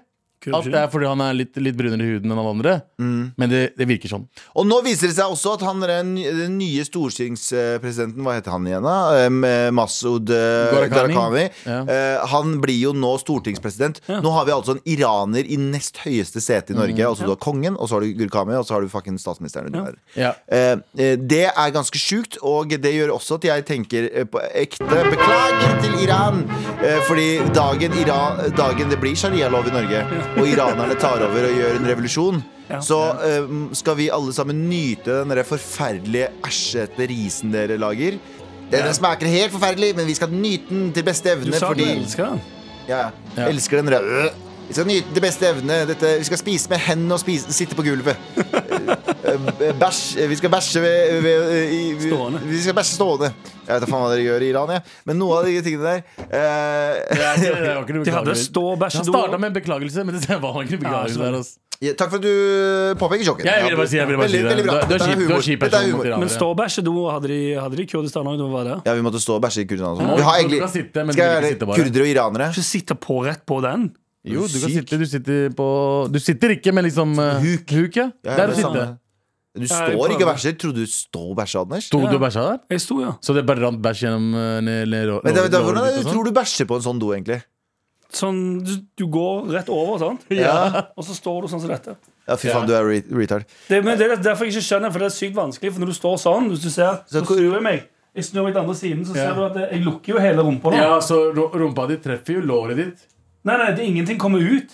Speaker 4: at det er fordi han er litt, litt brunere i huden enn alle andre.
Speaker 2: Mm.
Speaker 4: Men det, det virker sånn.
Speaker 2: Og nå viser det seg også at han er den den nye stortingspresidenten, hva heter han igjen da? Em, eh, Masud eh,
Speaker 4: Gharahkhani.
Speaker 2: Gharahkhani.
Speaker 4: Ja.
Speaker 2: Eh, Han blir jo nå stortingspresident. Nå har vi altså en iraner i nest høyeste sete i Norge. Altså du har kongen, og så har du Gurkami, og så har du fucking statsministeren. under der.
Speaker 4: Mm, Ja.
Speaker 2: Eh, eh, Det er ganske sjukt, og det gjør også at jeg tenker eh, på ekte beklager til Iran. Eh, Fordi dagen, Iran, dagen det blir sharialov i Norge, og iranerne tar over og gjør en revolusjon, så eh, skal vi alle sammen nyte den der forferdelige æsjete risen dere lager. Den smaker helt forferdelig, men vi skal nyte den til beste
Speaker 3: Du
Speaker 2: evne.
Speaker 3: sa du
Speaker 2: Fordi
Speaker 3: elsker den.
Speaker 2: ja,
Speaker 4: Ja.
Speaker 2: ja. Elsker den røde. Vi skal nyte til beste evne. Dette, vi skal spise med hendene og spise, sitte på gulvet. Eh, eh, Bæsj Vi skal bæsje ved, ved, i, vi,
Speaker 3: Stående.
Speaker 2: Vi skal bæsje stående. Jeg vet da faen hva dere gjør i Iran, jeg. Men noe av de tingene der eh,
Speaker 3: De hadde stå og bæsje
Speaker 4: Han
Speaker 3: do.
Speaker 4: starta med en beklagelse, men det var ikke en beklagelse
Speaker 2: sånn.
Speaker 3: Ja,
Speaker 4: der. altså. ass.
Speaker 2: ja, Takk for at du påpeker joken.
Speaker 4: Jeg ville bare si, jeg ville bare si
Speaker 2: Veldig-
Speaker 4: det.
Speaker 2: veldig bra.
Speaker 4: Du er- Du er
Speaker 2: Dette
Speaker 4: kjip- du
Speaker 2: humor.
Speaker 4: er kjip
Speaker 2: Dette er
Speaker 4: person mot
Speaker 2: humor.
Speaker 4: iranere.
Speaker 3: Men stå og bæsje do hadde de, hadde de i Kurdistan òg. Hva var det?
Speaker 2: Ja, vi måtte stå og bæsje i Kurdistan. og sånn.
Speaker 4: Ja,
Speaker 2: Vi har
Speaker 4: du
Speaker 2: egentlig
Speaker 4: kan sitte, men
Speaker 2: Skal
Speaker 4: du vil
Speaker 2: jeg
Speaker 4: ikke
Speaker 2: være
Speaker 4: sitte bare.
Speaker 2: kurdere og iranere?
Speaker 3: Ikke sitte på rett på den.
Speaker 4: Jo, du kan
Speaker 2: Syk.
Speaker 4: sitte. Du sitter på Du sitter ikke, men liksom eh,
Speaker 2: Huk.
Speaker 4: Huk, ja.
Speaker 2: Ja,
Speaker 4: Der
Speaker 2: det
Speaker 4: du sitter.
Speaker 2: samme. Du
Speaker 3: Ja, jeg
Speaker 2: står ikke og
Speaker 3: prøver.
Speaker 2: bæsjer. Trodde du står og bæsja, Anders?
Speaker 4: Sto du
Speaker 3: Ja.
Speaker 4: og bæsja der?
Speaker 3: Jeg sto, ja.
Speaker 4: Så det bare rant bæsj gjennom eh, ned- ned lå-
Speaker 2: Men det, det,
Speaker 4: låret ditt
Speaker 2: hvordan er
Speaker 4: og
Speaker 2: det,
Speaker 4: sånn?
Speaker 2: tror du bæsjer på en sånn do, egentlig?
Speaker 3: Sånn, du, du går rett over, sant?
Speaker 2: Ja.
Speaker 3: Og så står du sånn som dette.
Speaker 2: Ja, fy faen, du er re retard.
Speaker 3: Det, men det er derfor jeg ikke skjønner, for det er sykt vanskelig. For når du står sånn, hvis du ser,
Speaker 2: Så
Speaker 3: så
Speaker 2: hvor-
Speaker 3: snur jeg meg. Jeg snur meg til andre siden, så
Speaker 4: Ja.
Speaker 3: ser du at jeg lukker jo hele rumpa. nå.
Speaker 4: Ja, så ru- rumpa di treffer jo låret ditt.
Speaker 3: Nei, nei, det, ingenting kommer ut.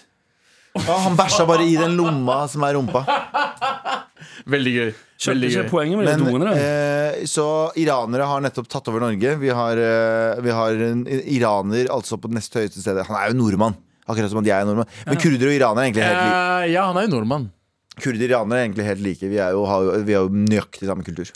Speaker 2: Ja, han bæsja bare i den lomma som er rumpa.
Speaker 4: Veldig gøy.
Speaker 3: Skjønte
Speaker 4: Veldig
Speaker 3: ikke
Speaker 4: gøy.
Speaker 3: poenget med de
Speaker 2: Men,
Speaker 3: doene. da.
Speaker 2: eh, så iranere har nettopp tatt over Norge. Vi har, eh, vi har en iraner altså på det nest høyeste stedet. Han er jo nordmann. Akkurat som at jeg er nordmann. Men kurdere og iranere er egentlig helt like.
Speaker 4: Eh, ja, han er jo nordmann.
Speaker 2: Kurdere og iranere er egentlig helt like. Vi, er jo, har, jo- vi har jo nøyaktig samme kultur.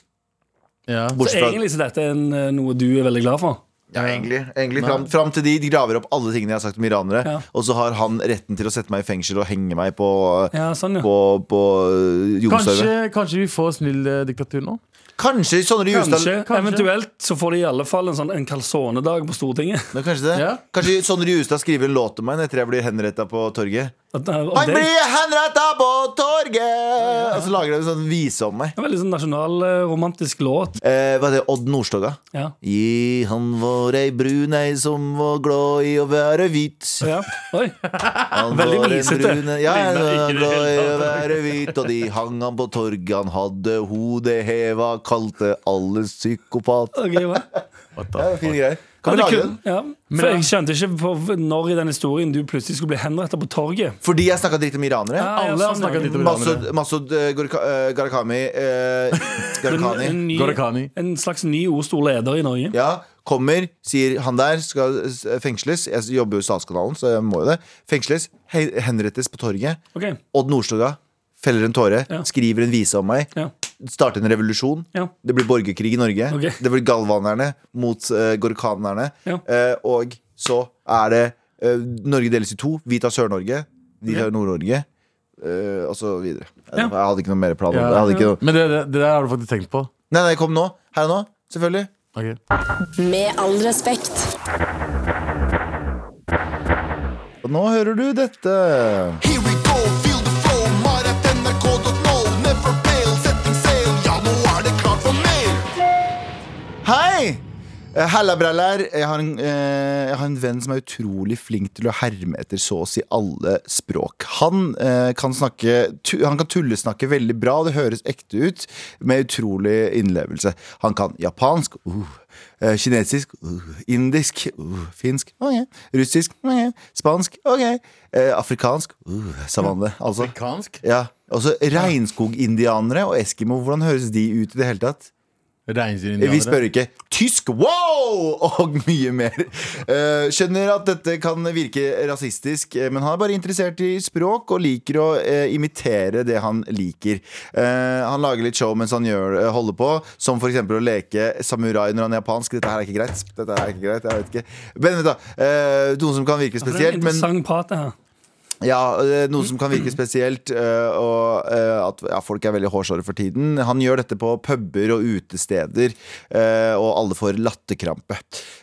Speaker 4: Ja.
Speaker 3: Så
Speaker 2: Bortsett fra
Speaker 3: egentlig så dette er en, eh, noe du er veldig glad for.
Speaker 2: ja, egentlig, egentlig fram, fram til de, de graver opp alle tingene jeg har sagt om iranere.
Speaker 3: Ja.
Speaker 2: Og så har han retten til å sette meg i fengsel og henge meg på,
Speaker 3: Ja, sånn, ja.
Speaker 2: på, på eh,
Speaker 4: Kanskje,
Speaker 2: jordstøvet.
Speaker 4: kanskje vi får snill eh, diktatur nå?
Speaker 2: Kanskje, Sondre Justad
Speaker 3: Kanskje,
Speaker 4: kanskje.
Speaker 3: Eventuelt så får de i alle fall en sånn en calzone-dag på Stortinget.
Speaker 2: Men kanskje det
Speaker 4: Ja.
Speaker 2: Kanskje Sondre Justad skriver en låt om meg etter jeg blir henrettet på torget.
Speaker 3: At, eh, om
Speaker 2: Han
Speaker 3: det
Speaker 2: blir henrettet på torget! Og så lager de en sånn vise om meg.
Speaker 3: er en veldig sånn nasjonalromantisk låt.
Speaker 2: Eh, hva er det? Odd Nordstoga.
Speaker 3: Ja.
Speaker 2: Gi han vår ei brun ei som var glad i å være hvit.
Speaker 3: ja. Oi.
Speaker 2: Han
Speaker 3: Veldig
Speaker 2: var en
Speaker 3: visete.
Speaker 2: brun ei- Ja,
Speaker 4: Ligner
Speaker 2: han
Speaker 4: ikke i det
Speaker 2: var glad i å
Speaker 4: hele
Speaker 2: være hvit, og de hang han på torget. Han hadde hodet heva, kalte alle psykopat.
Speaker 3: Ok, hva?
Speaker 2: Det er fine greier. Kan vi
Speaker 3: Ja, det
Speaker 2: lage
Speaker 3: kun-
Speaker 2: den?
Speaker 3: Ja.
Speaker 4: Men
Speaker 3: For
Speaker 4: da-
Speaker 3: jeg skjønte ikke på når i den historien du plutselig skulle bli henrettet på torget.
Speaker 2: Fordi jeg snakket dritt om iranere.
Speaker 3: Ja,
Speaker 4: Alle har
Speaker 3: sånn,
Speaker 4: snakket
Speaker 3: ja.
Speaker 4: litt om iranere.
Speaker 2: Masud, Masud eh, Gorka- eh, Gharahkhami eh, Gharahkhani.
Speaker 3: En, en, ny,
Speaker 4: Gorakhani.
Speaker 3: en slags ny og stor leder i Norge.
Speaker 2: Ja, kommer, sier han der skal s- fengsles. Jeg jobber jo i Statskanalen, så jeg må jo det. Fengsles, he- henrettes på torget.
Speaker 3: Ok,
Speaker 2: Odd Nordstoga feller en tåre,
Speaker 3: Ja.
Speaker 2: skriver en vise om meg.
Speaker 3: ja,
Speaker 2: Starter en revolusjon.
Speaker 3: ja.
Speaker 2: Det blir borgerkrig i Norge.
Speaker 3: Ok.
Speaker 2: Det blir galvanerne mot uh, gorkanerne.
Speaker 3: Ja.
Speaker 2: Eh, og så er det eh, Norge deles i to. Vi tar Sør-Norge, de tar Nord-Norge. eh, og så videre.
Speaker 3: Ja.
Speaker 2: Jeg hadde ikke noe mer plan. om det.
Speaker 4: Ja.
Speaker 2: Jeg hadde ikke noe.
Speaker 4: Men det, det, det der har du faktisk tenkt på?
Speaker 2: Nei, nei, kom nå. Her og nå, selvfølgelig.
Speaker 4: Ok.
Speaker 5: Med all respekt.
Speaker 2: Og nå hører du dette.
Speaker 6: Here we go, feel the flow. Mar at nrk.no. Never fail, setting sail. Ja, nå er det klart for mer.
Speaker 2: Hei! Eh, Halla, braller. Jeg har, en, eh, jeg har en venn som er utrolig flink til å herme etter så å si alle språk. Han, eh, kan, snakke, tu, han kan tullesnakke veldig bra, og det høres ekte ut, med utrolig innlevelse. Han kan japansk, uh, eh, kinesisk, uh, indisk, uh, finsk, ok, russisk, ok, spansk, ok, eh, afrikansk, uh, savanne, altså.
Speaker 4: Amerikansk?
Speaker 2: Ja, altså Regnskogindianere og Eskimo, hvordan høres de ut i det hele tatt?
Speaker 4: Reinsdyrindianere.
Speaker 2: Vi spør ikke tysk, wow! Og mye mer. Eh, skjønner at dette kan virke rasistisk, eh, men han er bare interessert i språk og liker å eh, imitere det han liker. Eh, han lager litt show mens han gjør, eh, holder på, som f.eks. å leke samurai når han er japansk. Dette her er ikke greit. Dette her er ikke greit, jeg vet ikke. Men vent, da. Eh, noe som kan virke
Speaker 3: For Det er en
Speaker 2: spesielt, men
Speaker 3: interessant prat, det her.
Speaker 2: ja, eh, noe som kan virke spesielt, eh, og eh, at ja, folk er veldig hårsåre for tiden. Han gjør dette på puber og utesteder, eh, og alle får latterkrampe.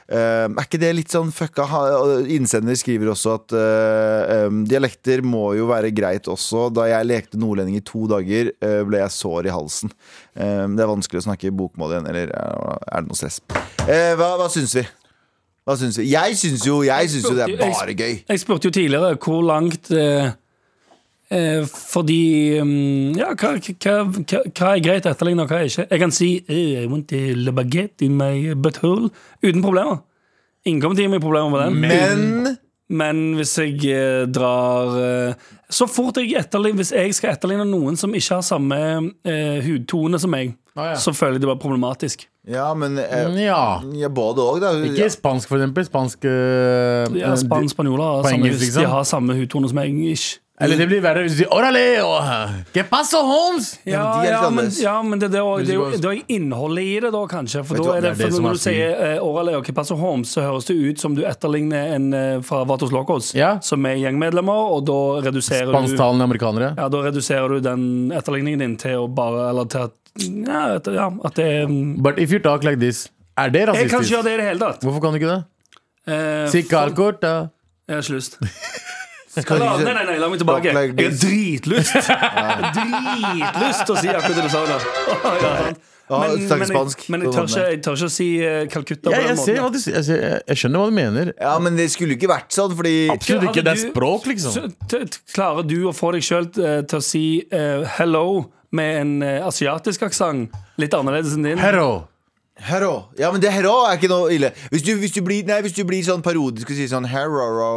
Speaker 2: Eh, Er ikke det litt sånn fucka? Ha- og Innsender skriver også at eh, em, dialekter må jo være greit også. Da jeg lekte nordlending i to dager, eh, ble jeg sår i halsen. Eh, Det er vanskelig å snakke bokmål igjen, eller eh, er det noe stress? Eh, Hva, hva syns vi? Hva syns vi? Jeg syns jo, jeg syns jo det er bare gøy.
Speaker 3: Jeg spurte jo tidligere hvor langt eh, eh, Fordi mm, Ja, hva, hva, hva, hva er greit å etterligne, og hva er ikke? Jeg kan si eh, I want a la baguette in my butthole uten problemer. Ingen kommer til å gi meg problemer med den.
Speaker 2: Men
Speaker 3: Men hvis jeg eh, drar eh, Så fort jeg etterligner Hvis jeg skal etterligne noen som ikke har samme eh, hudtone som meg,
Speaker 4: Ah, ja.
Speaker 3: så føler jeg det var problematisk.
Speaker 2: Ja, men eh,
Speaker 4: Mm, Ja.
Speaker 2: ja, både òg, da.
Speaker 4: Ikke
Speaker 2: Ja.
Speaker 4: spansk, for eksempel. Spansk øh,
Speaker 3: Ja, span, spanjoler har
Speaker 4: På
Speaker 3: samme,
Speaker 4: engelsk,
Speaker 3: hvis
Speaker 4: liksom?
Speaker 3: de har samme hudtone som meg. Ikke.
Speaker 4: Eller det blir verre hvis de sier Orale! og, eh, ¿Qué paso, Holmes?
Speaker 3: Ja,
Speaker 2: men de er litt
Speaker 3: ja, men,
Speaker 2: annerledes.
Speaker 3: ja, men det, det, er jo-
Speaker 4: Hvis
Speaker 3: det, er
Speaker 4: du
Speaker 3: jo-
Speaker 4: bare-
Speaker 3: det er jo innholdet i det, da, kanskje. For,
Speaker 2: Vet du
Speaker 3: da
Speaker 2: hva,
Speaker 3: er det,
Speaker 4: det er det
Speaker 3: for
Speaker 4: som
Speaker 3: når
Speaker 4: er
Speaker 3: du sier uh, Orale og Kipasso Holmes, så høres det ut som du etterligner en eh, fra Vatos Locos,
Speaker 4: Ja.
Speaker 3: som er gjengmedlemmer, og da reduserer du
Speaker 4: Spansktalende amerikanere.
Speaker 3: ja, da reduserer du den etterligningen din til å bare Eller til at Ja, at, ja, at det er mm,
Speaker 4: But if you talk like this, er det
Speaker 3: Jeg kan
Speaker 4: rasistisk?
Speaker 3: ikke gjøre det i det hele tatt.
Speaker 4: Hvorfor kan du ikke det?
Speaker 3: Eh,
Speaker 4: Si
Speaker 3: for-
Speaker 4: calcorta.
Speaker 3: Jeg har ikke lyst.
Speaker 2: du
Speaker 3: La,
Speaker 2: ikke-
Speaker 3: nei, nei, nei, la meg tilbake.
Speaker 2: Black
Speaker 3: Jeg har
Speaker 2: Lives-
Speaker 3: dritlyst Dritlyst til å si akkurat det du sa der.
Speaker 2: Ja, snakke
Speaker 3: men, jeg,
Speaker 2: spansk
Speaker 3: men
Speaker 2: på
Speaker 3: jeg, tør
Speaker 2: den
Speaker 3: ikke, jeg tør ikke å si eh, Calcutta
Speaker 4: Ja,
Speaker 3: på
Speaker 4: jeg,
Speaker 3: den
Speaker 4: ser hva
Speaker 3: måten.
Speaker 4: du, sier. jeg, ser, jeg- jeg skjønner hva du mener.
Speaker 2: ja, men det skulle jo ikke vært sånn, fordi
Speaker 4: Absolutt
Speaker 3: Hadde
Speaker 4: ikke. Det er
Speaker 3: du-
Speaker 4: språk, liksom.
Speaker 3: Så, t t klarer du å få deg sjøl til å si eh, hello med en eh, asiatisk aksent? Litt annerledes enn din?
Speaker 4: Hero.
Speaker 2: Herå. Ja, men det herå er ikke noe ille. Hvis du, hvis du, blir, nei, hvis du blir sånn parodisk og sier sånn herå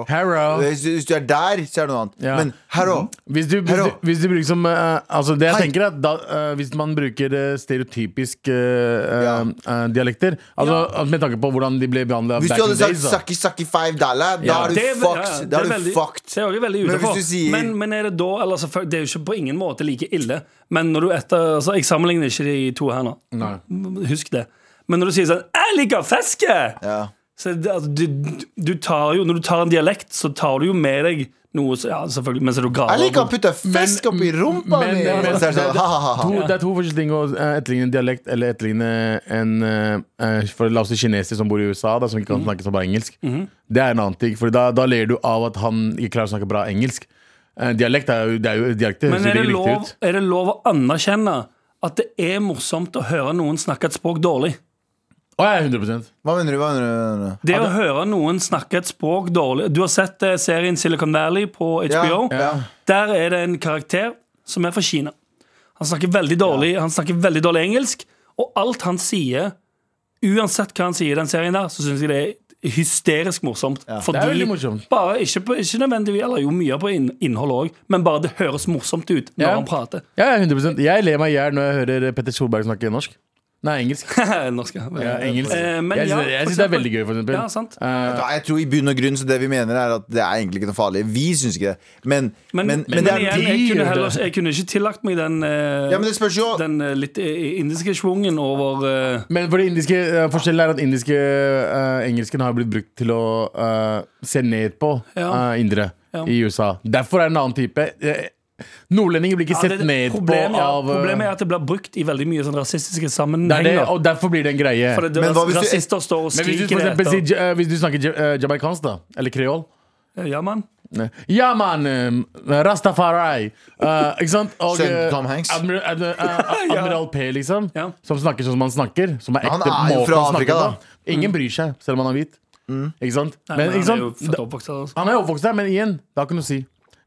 Speaker 4: Herå.
Speaker 2: Hvis, du- hvis du er der, så er det noe annet.
Speaker 4: Ja. Mm.
Speaker 2: Men herå.
Speaker 4: Hvis du, hvis,
Speaker 2: Hero.
Speaker 4: du, hvis du bruker som eh, Altså det jeg
Speaker 2: Hei.
Speaker 4: tenker er at da, eh, Hvis man bruker eh, stereotypisk eh,
Speaker 2: Ja.
Speaker 4: eh, dialekter altså, Med tanke på hvordan de ble behandla
Speaker 2: Hvis
Speaker 4: back
Speaker 2: du hadde
Speaker 4: in the
Speaker 2: sagt
Speaker 4: days da.
Speaker 2: sucky sucky five dollar, da
Speaker 4: Ja.
Speaker 2: er du
Speaker 3: Det er ve-
Speaker 2: fucked. da er
Speaker 3: ja, ja, det
Speaker 2: du
Speaker 3: er veldig-
Speaker 2: fucked.
Speaker 3: Det er også veldig
Speaker 2: Men
Speaker 3: utenfor.
Speaker 2: hvis du sier-
Speaker 3: men, men er det da eller så, for- Det er jo ikke på ingen måte like ille. Men når du etter, altså, jeg sammenligner ikke de to her nå.
Speaker 4: Nei.
Speaker 3: Husk det. Men når du sier sånn 'Jeg liker fiske',
Speaker 2: Ja.
Speaker 3: så er det, altså, du, du tar jo, når du tar en dialekt, så tar du jo med deg noe så- Ja, selvfølgelig, men så er du gal.
Speaker 2: Jeg liker å putte fisk oppi rumpa
Speaker 4: men-
Speaker 2: mi!
Speaker 4: men-
Speaker 2: Og så er det sånn, ha, ha, ha, ha.
Speaker 4: To, det er to forskjellige ting å eh, etterligne en dialekt eller etterligne en eh, eh, For La oss si kineser som bor i USA, da, som ikke
Speaker 3: Mhm.
Speaker 4: kan snakke så bra engelsk. Det er en annen ting, for da, da ler du av at han ikke klarer å snakke bra engelsk. Eh, dialekt er jo, det er jo dialekt, det
Speaker 3: Men
Speaker 4: høres
Speaker 3: er
Speaker 4: ikke
Speaker 3: det,
Speaker 4: riktig
Speaker 3: lov,
Speaker 4: ut.
Speaker 3: er det lov å anerkjenne at det er morsomt å høre noen snakke et språk dårlig?
Speaker 4: Å ja, 100
Speaker 2: Hva mener du? Hva mener du? Hva mener du?
Speaker 3: Det å høre noen snakke et språk dårlig Du har sett eh, serien Silicon Valley på
Speaker 2: Ja,
Speaker 3: HBO.
Speaker 2: ja.
Speaker 3: Der er det en karakter som er fra Kina. Han snakker veldig dårlig, han snakker veldig dårlig engelsk, og alt han sier Uansett hva han sier i den serien der, så syns jeg det er hysterisk morsomt.
Speaker 4: Det er veldig morsomt.
Speaker 3: Bare ikke, på, ikke nødvendigvis, eller jo mye på inn, innholdet òg, men bare det høres morsomt ut når
Speaker 4: Ja.
Speaker 3: han prater.
Speaker 4: Ja, ja, 100 Jeg ler meg i hjel når jeg hører Petter Solberg snakke norsk. Nei, engelsk.
Speaker 3: Norsk, ja.
Speaker 4: Ja, engelsk.
Speaker 3: Eh, men
Speaker 4: jeg syns jeg
Speaker 3: ja, for
Speaker 4: synes det er
Speaker 3: eksempel.
Speaker 4: veldig gøy, for eksempel.
Speaker 3: Ja, sant.
Speaker 4: Eh,
Speaker 2: Ja, jeg tror i bunn og grunn så det vi mener er at det er egentlig ikke noe farlig. Vi syns ikke det. Men, men,
Speaker 3: Men,
Speaker 2: men,
Speaker 3: men
Speaker 2: det er
Speaker 3: igjen,
Speaker 4: de
Speaker 3: jeg
Speaker 4: gjør
Speaker 3: kunne,
Speaker 4: det.
Speaker 3: heller, jeg kunne ikke tillagt meg den, eh,
Speaker 2: Ja, men det spørs jo
Speaker 3: den eh, litt eh, indiske schwungen over eh,
Speaker 4: Men for det indiske, eh, forskjellen er at indiske eh, engelsken har blitt brukt til å eh, se ned på
Speaker 3: Ja.
Speaker 4: eh, indere
Speaker 3: Ja.
Speaker 4: i USA. Derfor er det en annen type. Eh, Nordlendinger blir ikke
Speaker 3: ja,
Speaker 4: sett
Speaker 3: det-
Speaker 4: ned
Speaker 3: problemet,
Speaker 4: på
Speaker 3: ja,
Speaker 4: av eh,
Speaker 3: Problemet er at det blir brukt i veldig mye sånn
Speaker 4: det
Speaker 3: rasistiske
Speaker 4: er det,
Speaker 3: sammenhenger.
Speaker 4: Og derfor blir det en greie.
Speaker 3: For det, det,
Speaker 2: Men hva hvis du-
Speaker 3: rasister står og
Speaker 4: Men hvis du,
Speaker 3: skriker
Speaker 4: for
Speaker 3: det
Speaker 4: eksempel,
Speaker 3: etter.
Speaker 4: sier, ja- eh, hvis du snakker ja- eh, jamaicansk, da, eller kreol
Speaker 3: Eh, Ja, mann.
Speaker 4: Nei. Ja, mann! eh, Rastafari! Eh, ikke sant? Og,
Speaker 2: Sønnen til
Speaker 4: eh,
Speaker 2: Tom Hanks.
Speaker 4: Admir- ad- eh, Admiral P, liksom.
Speaker 3: Ja.
Speaker 4: Som snakker sånn som han snakker. Som er ekte
Speaker 2: han er jo
Speaker 4: måten
Speaker 2: fra
Speaker 4: han
Speaker 2: Afrika,
Speaker 4: snakker på.
Speaker 2: da. Mm.
Speaker 4: Ingen bryr seg, selv om han er hvit. Ikke sant?
Speaker 3: Nei,
Speaker 4: Men,
Speaker 3: men
Speaker 4: ikke
Speaker 3: han er jo
Speaker 4: sant? Ah,
Speaker 3: født og oppvokst her, altså.
Speaker 4: Han er jo oppvokst der, men igjen, det har ikke noe å si.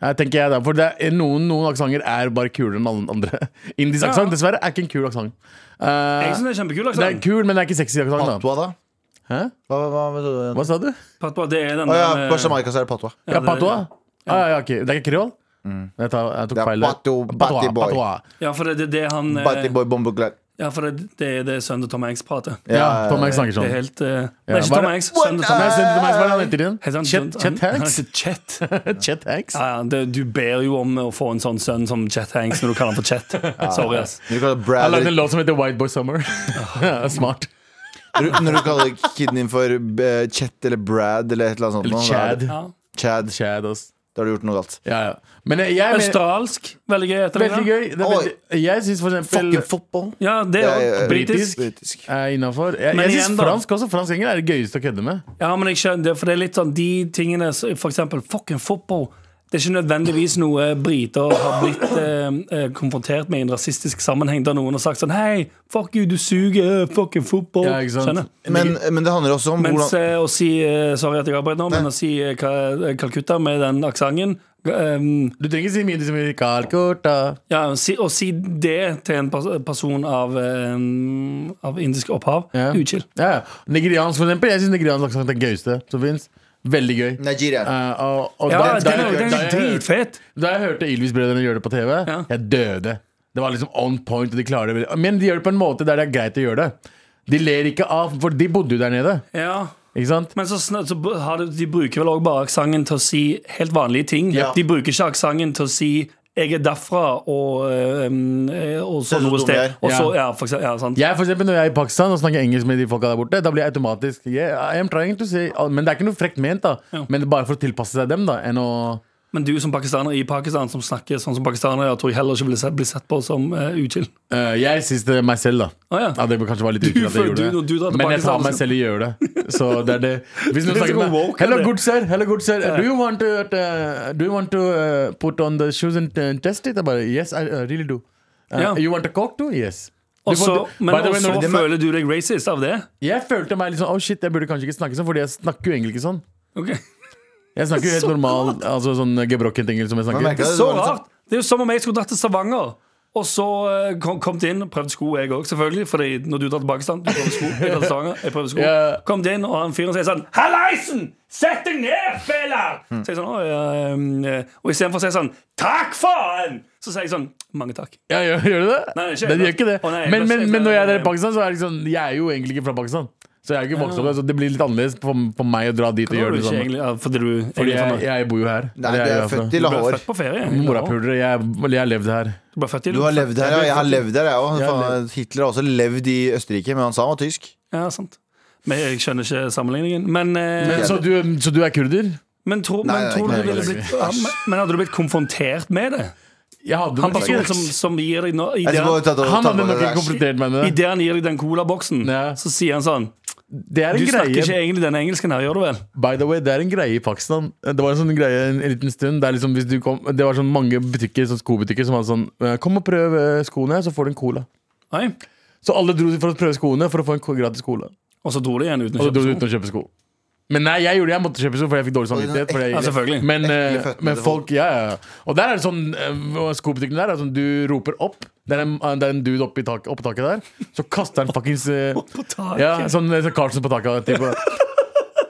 Speaker 4: Eh, tenker jeg da, for det er, Noen, noen aksenter er bare kulere enn alle andre. Indisk
Speaker 3: Ja.
Speaker 4: aksent dessverre er ikke en kul aksent. Eh,
Speaker 3: Jeg syns det er kjempekul. altså.
Speaker 4: det er
Speaker 3: aksent.
Speaker 4: kul, men det er ikke sexy aksent. da.
Speaker 2: Patua, da?
Speaker 4: Hæ?
Speaker 2: Hva, hva, hva, hva,
Speaker 4: Hva sa du?
Speaker 3: Patwa, Det er den
Speaker 2: Å ja,
Speaker 3: der, eh,
Speaker 2: på Jamaica så er det patwa.
Speaker 4: Ja,
Speaker 3: det-
Speaker 4: patois? Ja, ja, ok. Det er ikke kreol? Jeg, tar, jeg
Speaker 2: Mm.
Speaker 4: tok
Speaker 2: Det er
Speaker 4: feil. der.
Speaker 2: pato-
Speaker 4: Patois,
Speaker 2: batiboy.
Speaker 4: patois.
Speaker 3: ja, for det det er det han eh,
Speaker 2: Batty boy, bombo glad.
Speaker 3: Ja, for det, det er det sønnen til Tom Hanks prater.
Speaker 4: Ja, Tom Hanks snakker
Speaker 3: Det
Speaker 4: sånn.
Speaker 3: er
Speaker 4: Nei,
Speaker 3: helt eh, Det
Speaker 4: hva
Speaker 3: er ikke Tom
Speaker 4: er det?
Speaker 3: Hanks. Sønnen til Tom
Speaker 4: sønnen
Speaker 3: Hanks.
Speaker 4: til Tom Hanks, Hva er det han heter igjen?
Speaker 3: Heter han-
Speaker 4: altså, Chet,
Speaker 3: han-
Speaker 4: Chet
Speaker 3: Han
Speaker 4: Hanks?
Speaker 3: heter Chet.
Speaker 4: Chet Hanks?
Speaker 3: Ja, ja, det, du ber jo om å få en sånn sønn som Chet Hanks når du kaller han for Chet. Sorry, ass.
Speaker 2: Når du kaller,
Speaker 4: Han lagde en
Speaker 2: Bradley,
Speaker 4: låt som heter White Boy Summer.
Speaker 3: Ah.
Speaker 4: Ja, Smart.
Speaker 2: når du- når du kaller kiden din for eh, Chet eller Brad eller et eller annet sånt
Speaker 4: Eller
Speaker 2: nå, da er det-
Speaker 4: Chad.
Speaker 3: Ja.
Speaker 2: Chad.
Speaker 4: Chad, ass.
Speaker 2: Da har du gjort noe galt.
Speaker 4: Ja, ja. Men jeg, jeg mener-
Speaker 3: Australsk. Veldig gøy etternavn.
Speaker 4: Veldig gøy. Det er
Speaker 2: Oi.
Speaker 4: veldig, jeg syns for eksempel
Speaker 2: Fucking football.
Speaker 3: Ja, det
Speaker 2: Ja,
Speaker 3: òg.
Speaker 2: ja, ja.
Speaker 3: Britisk.
Speaker 2: Britisk.
Speaker 4: er innafor. Jeg,
Speaker 3: Men
Speaker 4: jeg
Speaker 3: igjen
Speaker 4: syns
Speaker 3: da. Oh,
Speaker 4: fransk også. Fransk engel er det gøyeste å kødde med.
Speaker 3: Ja, men jeg skjønner det, for det er litt sånn de tingene som- For eksempel fucking fotball. Det er ikke nødvendigvis noe briter har blitt eh, eh, konfrontert med i en rasistisk sammenheng, der noen har sagt sånn Hei, fuck you, du suger. eh, Fucking fotball.
Speaker 4: Ja, ikke sant?
Speaker 3: Skjønner?
Speaker 2: Men, eh, men det handler også om
Speaker 3: Mens
Speaker 2: hvordan
Speaker 3: eh, å si eh, Sorry at jeg avbrøt nå, men å si eh, Ka- Calcutta med den aksenten ehm,
Speaker 4: Du trenger ikke si mye du sier mye Calcutta.
Speaker 3: Ja, å si, å si det til en pers person av, eh, av indisk opphav,
Speaker 4: Ja.
Speaker 3: uchill.
Speaker 4: Ja. ja. Nigeriansk, for eksempel. Jeg syns nigeriansk aksent er den gøyeste som fins. Veldig gøy.
Speaker 2: Nigeria.
Speaker 4: Eh, og, og
Speaker 3: Ja,
Speaker 4: da, da,
Speaker 3: den er
Speaker 4: jeg,
Speaker 3: den
Speaker 4: da,
Speaker 3: er
Speaker 4: jeg, hørte-
Speaker 3: dritfet!
Speaker 4: da jeg hørte Ylvis-brødrene gjøre det på TV,
Speaker 3: Ja.
Speaker 4: jeg døde. Det var liksom on point, og de klarer det veldig- Men de gjør det på en måte der det er greit å gjøre det. De ler ikke av For de bodde jo der nede.
Speaker 3: Ja.
Speaker 4: Ikke sant?
Speaker 3: Men så, sn- så b- har de, de bruker vel også bare aksenten til å si helt vanlige ting.
Speaker 2: Ja.
Speaker 3: De bruker ikke aksenten til å si 'jeg er derfra' og, eh, um, eh, og
Speaker 2: Se
Speaker 3: så
Speaker 2: så
Speaker 3: noe
Speaker 2: dum jeg
Speaker 3: sted.
Speaker 2: er.
Speaker 3: Og
Speaker 4: Ja.
Speaker 3: så, ja, for eksempel, ja, sant.
Speaker 4: Jeg for eksempel, Når jeg er i Pakistan og snakker engelsk med de folka der borte, da blir jeg automatisk yeah, I am trying to say Men det er ikke noe frekt ment, da.
Speaker 3: Ja.
Speaker 4: Men det er bare for å tilpasse seg dem, da. Enn å
Speaker 3: Men du som pakistaner i Pakistan som snakker sånn som pakistanere, jeg tror jeg heller ikke blir sett, blir sett på som uh, uchill.
Speaker 4: Eh, Jeg syns det er meg selv, da.
Speaker 3: Å, ja.
Speaker 4: Ja, det bør kanskje være litt utrolig at jeg
Speaker 3: for- du-
Speaker 4: gjorde
Speaker 3: når du liksom- drar
Speaker 4: det. Men
Speaker 3: til
Speaker 4: jeg
Speaker 3: Pakistan,
Speaker 4: tar meg
Speaker 3: så-
Speaker 4: selv i å gjøre det. Så det er det. Hvis noen
Speaker 3: Det er
Speaker 4: snakker
Speaker 3: så
Speaker 4: med
Speaker 3: woke,
Speaker 4: Hello,
Speaker 3: det.
Speaker 4: good sir. Hello, good sir. Uh, Do you want to, uh, do you want to uh, put on the shoes and uh, test it? Jeg bare Yes, I uh, really do. Uh,
Speaker 3: Ja.
Speaker 4: You want a coke too? Yes. Du
Speaker 3: Og så-
Speaker 4: får-
Speaker 3: Men
Speaker 4: By the way,
Speaker 3: også
Speaker 4: når du-
Speaker 3: føler du deg racist av det?
Speaker 4: Jeg følte meg litt sånn Oh shit, jeg burde kanskje ikke snakke sånn, Fordi jeg snakker jo egentlig ikke sånn.
Speaker 3: Ok.
Speaker 4: Jeg snakker jo helt normal altså sånn gebrokkent engelsk som jeg
Speaker 2: Man merker
Speaker 4: snakker.
Speaker 2: det, det
Speaker 3: Så
Speaker 2: var litt sånn.
Speaker 3: rart! Det er jo som om jeg skulle dratt til Stavanger. Og så eh, kom, kom det inn, prøvde sko jeg òg, selvfølgelig. Fordi når du drar til Pakistan, du prøver sko. Jeg drar til Stavanger, jeg prøver sko.
Speaker 4: Ja.
Speaker 3: Kom det inn, og han fyren sier sånn Hallaisen! Sett deg ned, feller!
Speaker 2: Mm.
Speaker 3: Så jeg sånn, «Å, ja, ehm, eh», og istedenfor å si sånn Takk, faen! Så sier jeg sånn Mange takk.
Speaker 4: Ja, gjør, gjør du det?
Speaker 3: Nei, det er ikke-
Speaker 4: Den gjør ikke det.
Speaker 3: Å, nei,
Speaker 4: men, men,
Speaker 3: kanskje-
Speaker 4: men når jeg er i Pakistan, så er det liksom Jeg er jo egentlig ikke fra Pakistan. Så jeg er jo ikke vokst opp der, så det blir litt annerledes for, for meg å dra dit og
Speaker 3: Det
Speaker 4: gjøre
Speaker 3: var
Speaker 4: det
Speaker 3: du
Speaker 2: sånn.
Speaker 3: ikke
Speaker 4: samme.
Speaker 3: egentlig, ja, fordi du
Speaker 4: Fordi
Speaker 3: egentlig
Speaker 4: jeg,
Speaker 3: sånn,
Speaker 4: jeg bor jo her.
Speaker 2: Nei, du er født i
Speaker 3: Du ble
Speaker 2: Lahore.
Speaker 3: født på ferie.
Speaker 4: Morapulere. Jeg, jeg har levd her.
Speaker 3: Du ble født i
Speaker 2: Du har levd her, ja. Jeg har levd her, jeg
Speaker 4: Jeg har
Speaker 2: òg. Hitler har også levd i Østerrike, men han sa han var tysk.
Speaker 3: Ja, sant. Men jeg skjønner ikke sammenligningen. Men, eh,
Speaker 4: Men, så, du, så du er kurder?
Speaker 3: men, tro,
Speaker 2: Nei,
Speaker 3: men
Speaker 2: nei,
Speaker 3: tror
Speaker 2: nei, nei,
Speaker 3: du du ville
Speaker 2: nei.
Speaker 3: blitt ja, men- Men hadde du blitt konfrontert med det?
Speaker 4: Jeg hadde
Speaker 3: Han
Speaker 4: nok ikke-
Speaker 3: personen som, som gir deg nå i
Speaker 2: Jeg
Speaker 3: det
Speaker 2: skal bare
Speaker 3: han-
Speaker 2: ta- ta-
Speaker 4: han
Speaker 2: ta
Speaker 4: hadde
Speaker 2: på
Speaker 4: nok
Speaker 2: det
Speaker 4: ikke
Speaker 2: der.
Speaker 4: konfrontert meg
Speaker 3: i
Speaker 4: med det.
Speaker 3: det han gir deg den colaboksen,
Speaker 4: Ja.
Speaker 3: så sier han sånn
Speaker 4: Det er
Speaker 3: Du
Speaker 4: en
Speaker 3: snakker ikke
Speaker 4: greie
Speaker 3: egentlig den engelsken her, gjør du vel?
Speaker 4: By the way, det er en greie i Pakistan. Det var en sånn greie en, en liten stund. Der liksom hvis du kom, det var sånn mange butikker, sånn skobutikker som hadde sånn eh, Kom og prøv eh, skoene her, så får du en cola.
Speaker 3: Nei.
Speaker 4: Så alle dro for å prøve skoene for å få en ko- gratis cola.
Speaker 3: Og så dro de igjen uten
Speaker 4: Og
Speaker 3: å
Speaker 4: så dro de
Speaker 3: kjøpe sko.
Speaker 4: uten å kjøpe sko. Men nei, jeg gjorde det. Jeg måtte kjøpe sko, for jeg fikk dårlig samvittighet. For
Speaker 3: Ja,
Speaker 4: jeg,
Speaker 3: selvfølgelig.
Speaker 4: men, eh,
Speaker 2: Ekle føtter,
Speaker 4: men
Speaker 2: det
Speaker 4: folk, ja, ja. Og der er det sånn eh, og Skobutikken der er sånn du roper opp. Det er en, eh, det er en dude oppe i tak, oppå taket der. Så kaster han fuckings eh,
Speaker 3: På taket.
Speaker 4: ja, sånn eh, sånn Carlsen på taket. Type.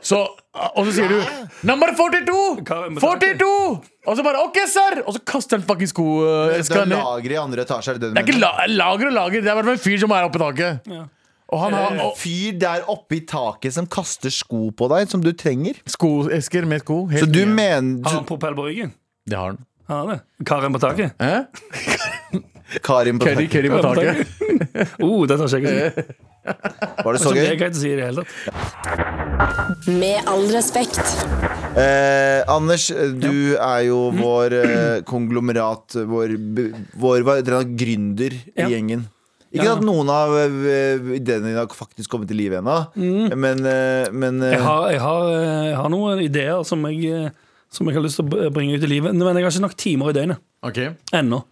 Speaker 4: Så, eh, og så sier du 'Number 42!
Speaker 3: Karen på
Speaker 4: 42!' Og så bare 'OK, sir!' Og så kaster han fuckings sko. eh,
Speaker 2: Det er
Speaker 4: skal ned.
Speaker 2: lageret i andre etasje. Er det
Speaker 4: Det er
Speaker 2: det du
Speaker 4: ikke
Speaker 2: mener?
Speaker 4: la, lager og lager. Det er bare en fyr som er oppe i taket.
Speaker 3: Ja.
Speaker 4: Og han har
Speaker 2: Eh.
Speaker 4: og,
Speaker 2: Fyr der oppe i taket som kaster sko på deg, som du trenger.
Speaker 4: skoesker med sko. helt
Speaker 2: Så du
Speaker 4: nye.
Speaker 2: mener
Speaker 3: Har han propell på ryggen?
Speaker 4: Det har han.
Speaker 3: Har han det? Karen på taket?
Speaker 4: Hæ?
Speaker 2: Karin på
Speaker 4: Curry,
Speaker 2: taket.
Speaker 4: curry på taket.
Speaker 3: Oh, det tar ikke
Speaker 2: Eh,
Speaker 3: jeg å si.
Speaker 2: Var det så
Speaker 3: Som det er
Speaker 2: gøy?
Speaker 3: greit å si i det hele tatt.
Speaker 5: Med all respekt.
Speaker 2: Eh, Anders, du er jo vår eh, konglomerat, vår, b- vår hva heter det, gründer
Speaker 3: Ja.
Speaker 2: i gjengen. Ikke
Speaker 3: Ja.
Speaker 2: at noen av eh, ideene dine har faktisk kommet til live ennå, men, eh, men eh,
Speaker 3: Mm. Jeg har, jeg, har, eh, jeg har noen ideer som jeg, eh, som jeg har lyst til å br- bringe ut i livet, men jeg har ikke nok timer i døgnet
Speaker 4: Ok.
Speaker 3: ennå.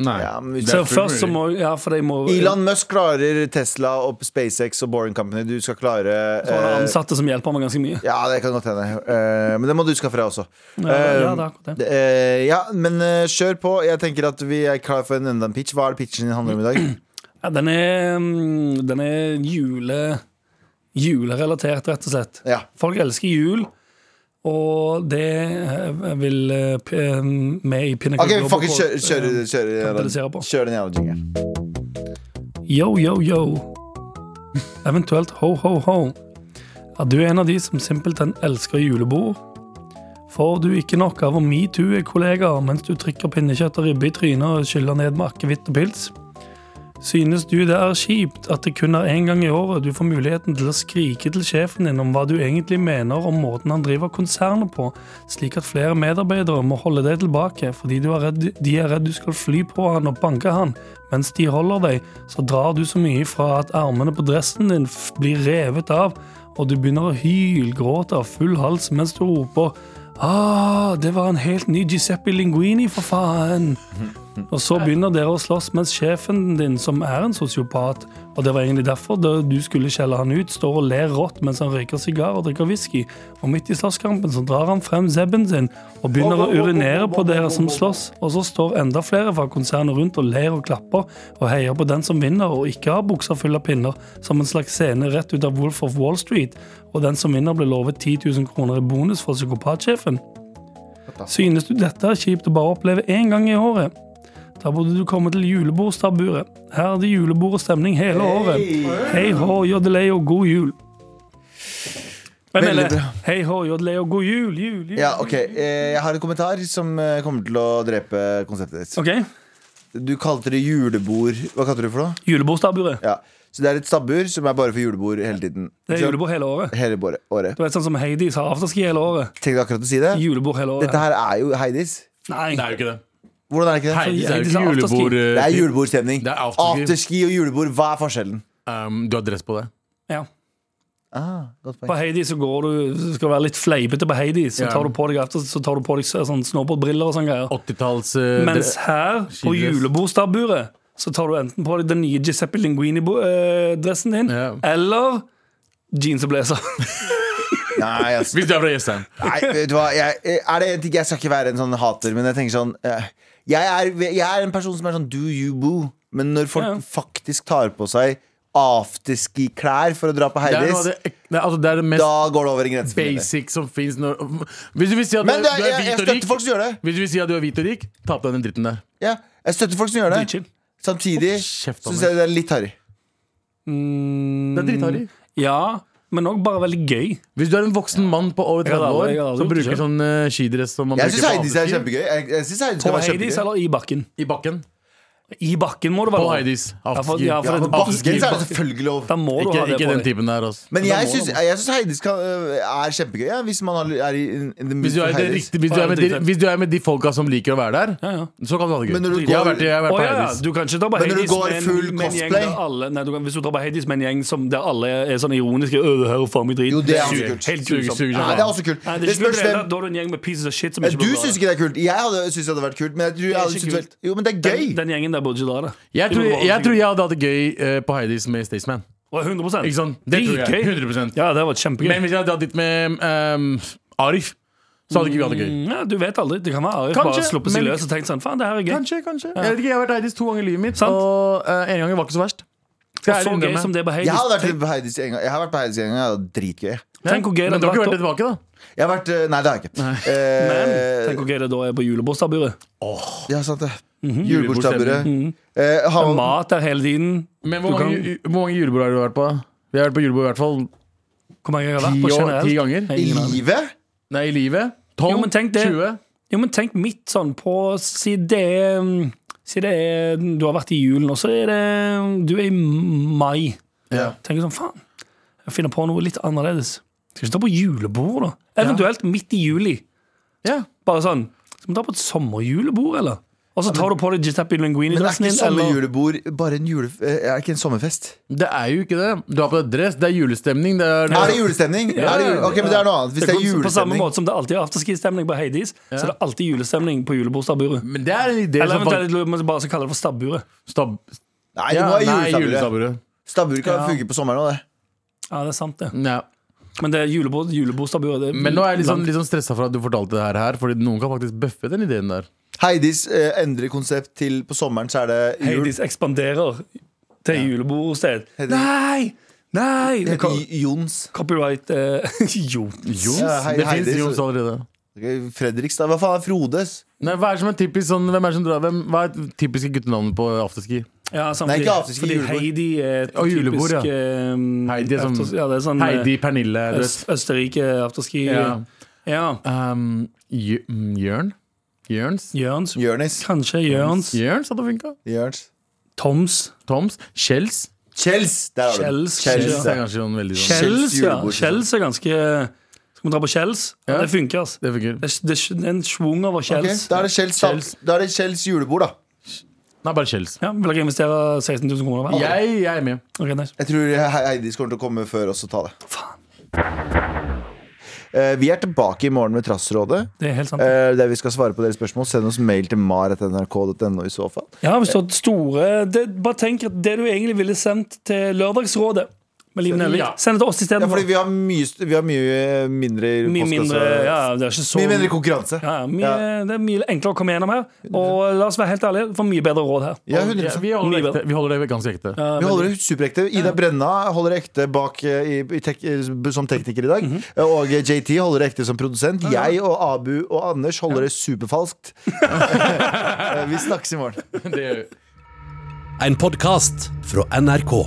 Speaker 4: Nei.
Speaker 2: ja, men
Speaker 3: Så
Speaker 2: hvis,
Speaker 4: fullt
Speaker 3: først så
Speaker 4: mulig.
Speaker 3: må ja, for jeg må,
Speaker 2: Elon Musk klarer Tesla og SpaceX og Boring Company. Du skal klare
Speaker 3: Så har jeg
Speaker 2: eh,
Speaker 3: ansatte som hjelper meg ganske mye.
Speaker 2: Ja, det kan godt hende. Eh, men det må du skaffe deg også.
Speaker 3: Ja, ja, det er akkurat det.
Speaker 2: Det, eh, ja, men eh, kjør på. Jeg tenker at vi er klar for en enda en pitch. Hva er det pitchen din handler om i dag?
Speaker 3: Ja, den er, mm, den er jule, julerelatert, rett og slett.
Speaker 2: Ja.
Speaker 3: Folk elsker jul, og det eh, vil eh, p- eh, vi i Pinnacle
Speaker 2: Ok,
Speaker 3: Global
Speaker 2: fuck it,
Speaker 3: Call-
Speaker 2: kjør, kjør, kjør,
Speaker 3: kapitalisere på.
Speaker 2: kjør den jævla jingeren.
Speaker 3: yo, yo, yo. Eventuelt ho, ho, ho. Er du en av de som simpelthen elsker julebord? Får du ikke nok av å metoo-e kollegaer mens du trykker pinnekjøtt og ribbe i trynet og skyller ned med akevitt og pils? Synes du det er kjipt at det kun er én gang i året du får muligheten til å skrike til sjefen din om hva du egentlig mener om måten han driver konsernet på, slik at flere medarbeidere må holde deg tilbake fordi du er redd, de er redd du skal fly på han og banke han, mens de holder deg, så drar du så mye ifra at armene på dressen din f- blir revet av, og du begynner å hylgråte av full hals mens du roper Ah, det var en helt ny Giuseppe Linguini, for faen! Og så begynner dere å slåss mens sjefen din, som er en sosiopat, og det var egentlig derfor da du skulle skjelle han ut, står og ler rått mens han røyker sigar og drikker whisky, og midt i slåsskampen så drar han frem zebben sin og begynner å urinere på dere som slåss, og så står enda flere fra konsernet rundt og ler og klapper og heier på den som vinner og ikke har bukser full av pinner, som en slags scene rett ut av Wolf of Wall Street, og den som vinner blir lovet 10 000 kroner i bonus fra psykopatsjefen. Synes du dette er kjipt å bare oppleve én gang i året? Da burde du komme til julebordstaburet. Her er det julebord og stemning hele året. Hei hå, jodelei E, og god jul. Jeg
Speaker 2: Veldig
Speaker 3: mener,
Speaker 2: bra.
Speaker 3: hei hå, jodelei E, og god jul, jul, jul.
Speaker 2: Ja, ok Eh, Jeg har en kommentar som eh, kommer til å drepe konseptet ditt.
Speaker 3: Ok,
Speaker 2: Du kalte det julebord. Hva kalte du det for noe?
Speaker 3: julebordstaburet.
Speaker 2: Ja. Så det er et stabbur som er bare for julebord hele tiden.
Speaker 3: Det er
Speaker 2: Ikke sant?
Speaker 3: julebord hele året.
Speaker 2: Hele båret- året.
Speaker 3: Du vet sånn som Heidi sa, afterski hele året.
Speaker 2: Tenkte akkurat å si det.
Speaker 3: Julebord hele året.
Speaker 2: Dette her er jo Heidis.
Speaker 3: Nei,
Speaker 4: Det er jo ikke det.
Speaker 2: Hvordan er det ikke det?
Speaker 4: Heidis er jo
Speaker 3: Heidis
Speaker 4: ikke
Speaker 3: er afterski.
Speaker 4: julebord. eh,
Speaker 2: Det er julebordstemning.
Speaker 4: Det er afterski.
Speaker 2: Afterski og julebord, hva er forskjellen?
Speaker 4: Um, du har dress på deg.
Speaker 3: ja.
Speaker 2: Ah, godt
Speaker 3: På
Speaker 2: poeng.
Speaker 3: Heidi så går du, skal være litt fleipete på Heidi, så
Speaker 4: Ja.
Speaker 3: tar du på deg, after- så tar du på deg sånn snowboardbriller og sånne greier.
Speaker 4: 80-talls eh,
Speaker 3: Mens
Speaker 4: dre-
Speaker 3: her, på
Speaker 4: Skidress.
Speaker 3: julebordstaburet, så tar du enten på deg den nye Giuseppe Linguini-dressen din,
Speaker 4: Ja.
Speaker 3: eller jeans og blazer.
Speaker 2: Nei, ass.
Speaker 4: Hvis du er fra Jessheim.
Speaker 2: Nei, vet du hva jeg, Er det en ting, jeg skal ikke være en sånn hater Men jeg tenker sånn eh, jeg er, jeg er en person som er sånn do you boo Men når folk
Speaker 3: Ja.
Speaker 2: faktisk tar på seg Afterski klær for å dra på
Speaker 4: Det er, noe
Speaker 2: Heidis
Speaker 4: av det, ek- det, er- altså, det er det mest
Speaker 2: Da går det over en grense for min del.
Speaker 4: basic som fins når Hvis du vil si at du,
Speaker 2: Men
Speaker 4: er-
Speaker 2: det, jeg,
Speaker 4: du er
Speaker 2: jeg
Speaker 4: hvit og rik
Speaker 2: støtter folk som gjør det
Speaker 4: Hvis du vil si at du er hvit og rik, ta på deg den dritten der.
Speaker 2: ja, Jeg støtter folk som gjør det
Speaker 3: Dritchill.
Speaker 2: Samtidig
Speaker 4: Hold kjeft,
Speaker 2: synes jeg det er litt harry
Speaker 3: Mm.
Speaker 4: Det er dritharry.
Speaker 3: Ja, men òg bare veldig gøy.
Speaker 4: Hvis du er en voksen mann på over
Speaker 3: Jeg har
Speaker 4: 30
Speaker 3: aldri-
Speaker 4: år
Speaker 3: jeg har
Speaker 4: som
Speaker 3: aldri gjort det
Speaker 4: bruker
Speaker 3: selv.
Speaker 4: sånn eh, skidress som man
Speaker 2: Jeg
Speaker 4: bruker
Speaker 2: synes
Speaker 4: på
Speaker 2: Heidis er
Speaker 4: afterski,
Speaker 2: kjempegøy Jeg, jeg synes Heidis
Speaker 3: På
Speaker 2: skal være
Speaker 3: Heidis
Speaker 2: kjempegøy
Speaker 3: eller i bakken.
Speaker 4: I bakken.
Speaker 3: I bakken må det
Speaker 4: På
Speaker 3: være. lov.
Speaker 4: Heidis.
Speaker 3: Ja, for-
Speaker 4: Afterski.
Speaker 3: ja,
Speaker 2: Ja,
Speaker 3: for det-
Speaker 2: på bakken så er det selvfølgelig lov
Speaker 3: Da må du
Speaker 4: Ikke,
Speaker 3: ha det
Speaker 4: ikke
Speaker 3: på
Speaker 4: den
Speaker 3: deg.
Speaker 4: typen der, altså.
Speaker 2: Men
Speaker 3: Da
Speaker 2: jeg
Speaker 3: må
Speaker 2: synes,
Speaker 3: det
Speaker 2: jeg synes Heidis kan, øh, er kjempegøy ja, Hvis man har- er i in the mood
Speaker 4: Hvis du, er
Speaker 2: for
Speaker 4: det
Speaker 2: Heidis.
Speaker 4: riktig, hvis, du er med de, hvis du er med de folka som liker å være der,
Speaker 3: Ja, ja.
Speaker 4: så kan du ha det gøy.
Speaker 2: Men når du
Speaker 4: jeg har
Speaker 2: går-
Speaker 4: vært, jeg har vært
Speaker 3: Å,
Speaker 4: på
Speaker 3: ja, ja.
Speaker 4: Heidis.
Speaker 3: Du kan ikke dra på
Speaker 2: Men når du
Speaker 3: Heidis
Speaker 2: går
Speaker 3: med en-
Speaker 2: full
Speaker 3: med en gjeng
Speaker 2: cosplay-
Speaker 3: der alle, nei, du kan, Hvis du drar på Heidis med en gjeng som, der alle er sånn ironiske «Øh, det her er faen meg drit
Speaker 2: Jo, det er
Speaker 3: Suger.
Speaker 2: også kult.
Speaker 3: Helt
Speaker 4: Suger,
Speaker 3: grusomt.
Speaker 4: suger,
Speaker 2: Nei, det er også kult
Speaker 3: Nei, det
Speaker 2: Det
Speaker 3: er ikke
Speaker 2: spørs
Speaker 3: kult i det hele
Speaker 2: hvem
Speaker 3: tatt. Da er du en gjeng med pieces of shit som
Speaker 2: Ja,
Speaker 3: ikke
Speaker 2: Du
Speaker 3: burde være
Speaker 2: syns
Speaker 3: der.
Speaker 2: ikke det er kult. Jeg hadde syntes det hadde vært kult, men jeg tror jeg
Speaker 3: er
Speaker 2: hadde
Speaker 3: ikke
Speaker 2: syntes det
Speaker 3: kult.
Speaker 2: var- Jo, men det er gøy.
Speaker 3: Den, den gjengen der burde ikke dra det.
Speaker 4: Jeg
Speaker 3: De
Speaker 4: tror,
Speaker 3: burde bare
Speaker 4: jeg
Speaker 3: suge.
Speaker 4: tror jeg hadde hatt det gøy eh, på Heidis med Staysman.
Speaker 3: Å, 100
Speaker 4: Ikke sant? Det tror jeg.
Speaker 3: Dritgøy.
Speaker 4: 100%.
Speaker 3: Ja, det var kjempegøy.
Speaker 4: Men hvis jeg hadde hatt dit med ehm, Arif, så hadde jeg ikke hatt det gøy.
Speaker 3: Mm, ja, du vet aldri. Det kan være Arif
Speaker 4: Kanskje,
Speaker 3: bare sluppet seg
Speaker 4: men-
Speaker 3: løs og tenkt sånn Faen, det her er gøy.
Speaker 4: Kanskje, kanskje. Jeg vet ikke, jeg har vært Heidis to ganger i livet mitt,
Speaker 3: Sant.
Speaker 4: og eh, en gang var ikke så verst. Skal
Speaker 3: Og så
Speaker 4: ærlig
Speaker 3: gøy
Speaker 4: innrømme.
Speaker 3: som det på
Speaker 2: Jeg har
Speaker 3: Hades.
Speaker 2: vært på Heidis en gang. Jeg har vært på Heidis en gang, jeg hadde dritgøy.
Speaker 3: Tenk hvor gøy det
Speaker 4: Men du har
Speaker 3: hadde
Speaker 4: ikke vært
Speaker 3: vært da-
Speaker 4: tilbake, da?
Speaker 2: Jeg har vært eh, Nei, det har jeg ikke.
Speaker 3: Men
Speaker 2: Eh,
Speaker 3: tenk hvor gøy det da er på julebordstaburet.
Speaker 2: ja, sant det.
Speaker 3: Mhm.
Speaker 2: Julebordstabbure. Eh, har-
Speaker 3: Mat der hele tiden.
Speaker 4: Men hvor mange,
Speaker 3: Du kan-
Speaker 4: ju- hvor mange julebord har du vært på? Vi har vært på julebord i hvert fall
Speaker 3: Hvor mange ganger jeg har
Speaker 4: ti,
Speaker 3: vært på
Speaker 4: år, ti
Speaker 3: generelt?
Speaker 4: ganger.
Speaker 2: I
Speaker 3: Ingen aning.
Speaker 2: livet?
Speaker 4: Nei, i livet. 12,
Speaker 3: Jo, men tenk det.
Speaker 4: 20.
Speaker 3: Jo, men tenk mitt sånn på Si det er- Si det er Du har vært i julen, og så er det um, Du er i mai.
Speaker 4: Ja.
Speaker 3: Tenker sånn Faen, jeg finner på noe litt annerledes. Skal ikke ta på julebord, da? Eventuelt midt i juli.
Speaker 4: Ja.
Speaker 3: Bare sånn Skal vi ta på et sommerjulebord, eller? Og så tar du på deg Giuseppe
Speaker 2: Men det er
Speaker 3: Linguini-dressen
Speaker 2: ikke
Speaker 3: din, eller
Speaker 2: sommerjulebord, bare en jule... eh, Er det ikke en sommerfest?
Speaker 4: Det er jo ikke det. Du har på deg dress, det er julestemning. Det er,
Speaker 2: Er det julestemning?
Speaker 3: Ja,
Speaker 2: Er det jule... Ok, men det er noe annet. Hvis
Speaker 3: Det
Speaker 2: det er
Speaker 3: går- På samme
Speaker 2: julestemning
Speaker 3: måte som det alltid er afterski-stemning på Heidis, så er det alltid julestemning på julebordstaburet.
Speaker 4: Men det er sånn en idé
Speaker 3: Eller
Speaker 4: som faktisk
Speaker 3: eventuelt man bare skal kalle det for stabburet.
Speaker 4: Stab...
Speaker 2: Nei, det
Speaker 4: Ja,
Speaker 2: må være
Speaker 4: nei,
Speaker 2: julestabure.
Speaker 4: julestabburet.
Speaker 2: Stabbur kan
Speaker 3: Ja.
Speaker 2: funke på sommeren òg, det.
Speaker 3: Ja, det er sant, det.
Speaker 4: Ja.
Speaker 3: Men det er julebord, julebordstaburet det er
Speaker 4: Men nå er jeg litt sånn,
Speaker 3: langt.
Speaker 4: litt sånn stressa for at du fortalte det her, her, Fordi noen kan faktisk bøffe den ideen der.
Speaker 2: Heidis eh, endrer konsept til på sommeren, så er det jul.
Speaker 3: Heidis ekspanderer til julebordsted.
Speaker 2: Heidis.
Speaker 3: Nei! Nei! Det er co-
Speaker 2: I- Jons.
Speaker 3: copyright eh, Jo.
Speaker 4: Jons?
Speaker 2: Ja, hei-
Speaker 4: det
Speaker 2: hei,
Speaker 4: fins
Speaker 2: det-
Speaker 4: Jons allerede.
Speaker 2: Ok, Fredrikstad. Hva faen er Frodes?
Speaker 4: Nei, hva er det som er typisk sånn Hvem er det som drar Hvem, Hva er typiske guttenavnet på afterski?
Speaker 3: Ja,
Speaker 2: Nei,
Speaker 3: samtidig.
Speaker 2: ikke afterski,
Speaker 3: Fordi
Speaker 2: julebord.
Speaker 3: Heidi er et
Speaker 4: Og julebord,
Speaker 3: typisk
Speaker 4: ja.
Speaker 3: eh,
Speaker 4: Heidi er sånn-
Speaker 3: afters- ja, det er sånn eh,
Speaker 4: Heidi, Pernille du vet.
Speaker 3: Øst, Østerrike afterski.
Speaker 4: Ja.
Speaker 3: Ja.
Speaker 4: um, Jø- mm, Jørn? Jørns?
Speaker 3: Jørns.
Speaker 2: Jørnis.
Speaker 3: Kanskje Jørns.
Speaker 4: Jørns hadde funka.
Speaker 2: Jørns.
Speaker 3: Toms.
Speaker 4: Toms. Kjells.
Speaker 2: Kjells! Der har du den.
Speaker 3: Kjells.
Speaker 2: Kjells,
Speaker 4: Kjells er
Speaker 2: ja.
Speaker 4: kanskje sånn veldig sånn.
Speaker 3: Kjells, ja.
Speaker 2: julebord, liksom.
Speaker 3: Kjells er ganske eh, Skal vi dra på Kjells? Ja,
Speaker 4: Ja.
Speaker 3: det funker, altså.
Speaker 4: Det funker.
Speaker 3: Det, er- det er en schwung over
Speaker 2: Ok,
Speaker 3: Kjells.
Speaker 2: Da er det Kjells, da.
Speaker 4: Kjells.
Speaker 2: Da er det Kjells julebord, da.
Speaker 4: Nei, bare Kjells.
Speaker 3: Ja, Vil dere investere 16 000 kroner hver?
Speaker 4: Jeg, jeg er med.
Speaker 3: Ok, nice.
Speaker 2: Jeg tror He- Heidis kommer til å komme før oss og ta det.
Speaker 3: Faen,
Speaker 2: Eh, Vi er tilbake i morgen med Trassrådet.
Speaker 3: det er helt sant.
Speaker 2: eh, Der vi skal svare på deres spørsmål. Send oss mail til mar.nrk.no i så fall.
Speaker 3: Ja, hvis du har store det, Bare tenk at det du egentlig ville sendt til Lørdagsrådet med Liv Nelvik,
Speaker 4: Ja.
Speaker 3: send det til oss
Speaker 2: Ja, fordi
Speaker 3: istedenfor.
Speaker 2: vi har mye, st- vi har mye eh, mindre i
Speaker 3: Mye
Speaker 2: postkasse.
Speaker 3: mindre Ja, det er ikke så
Speaker 2: Mye mindre konkurranse.
Speaker 3: ja, ja, mye, Det er mye enklere å komme gjennom her. Og la oss være helt ærlige, for mye bedre råd her.
Speaker 2: Ja,
Speaker 4: Ja,
Speaker 2: 100%.
Speaker 4: vi, holder det
Speaker 3: Mye
Speaker 4: ekte. vi holder det ganske ekte.
Speaker 2: Vi holder det superekte. Ida Brenna holder det ekte bak eh, i, i tek, eh, som tekniker i dag. Og eh, JT holder det ekte som produsent. Jeg og Abu og Anders holder det superfalskt. Eh, vi snakkes i morgen.
Speaker 4: Det gjør vi.
Speaker 7: En podkast fra NRK.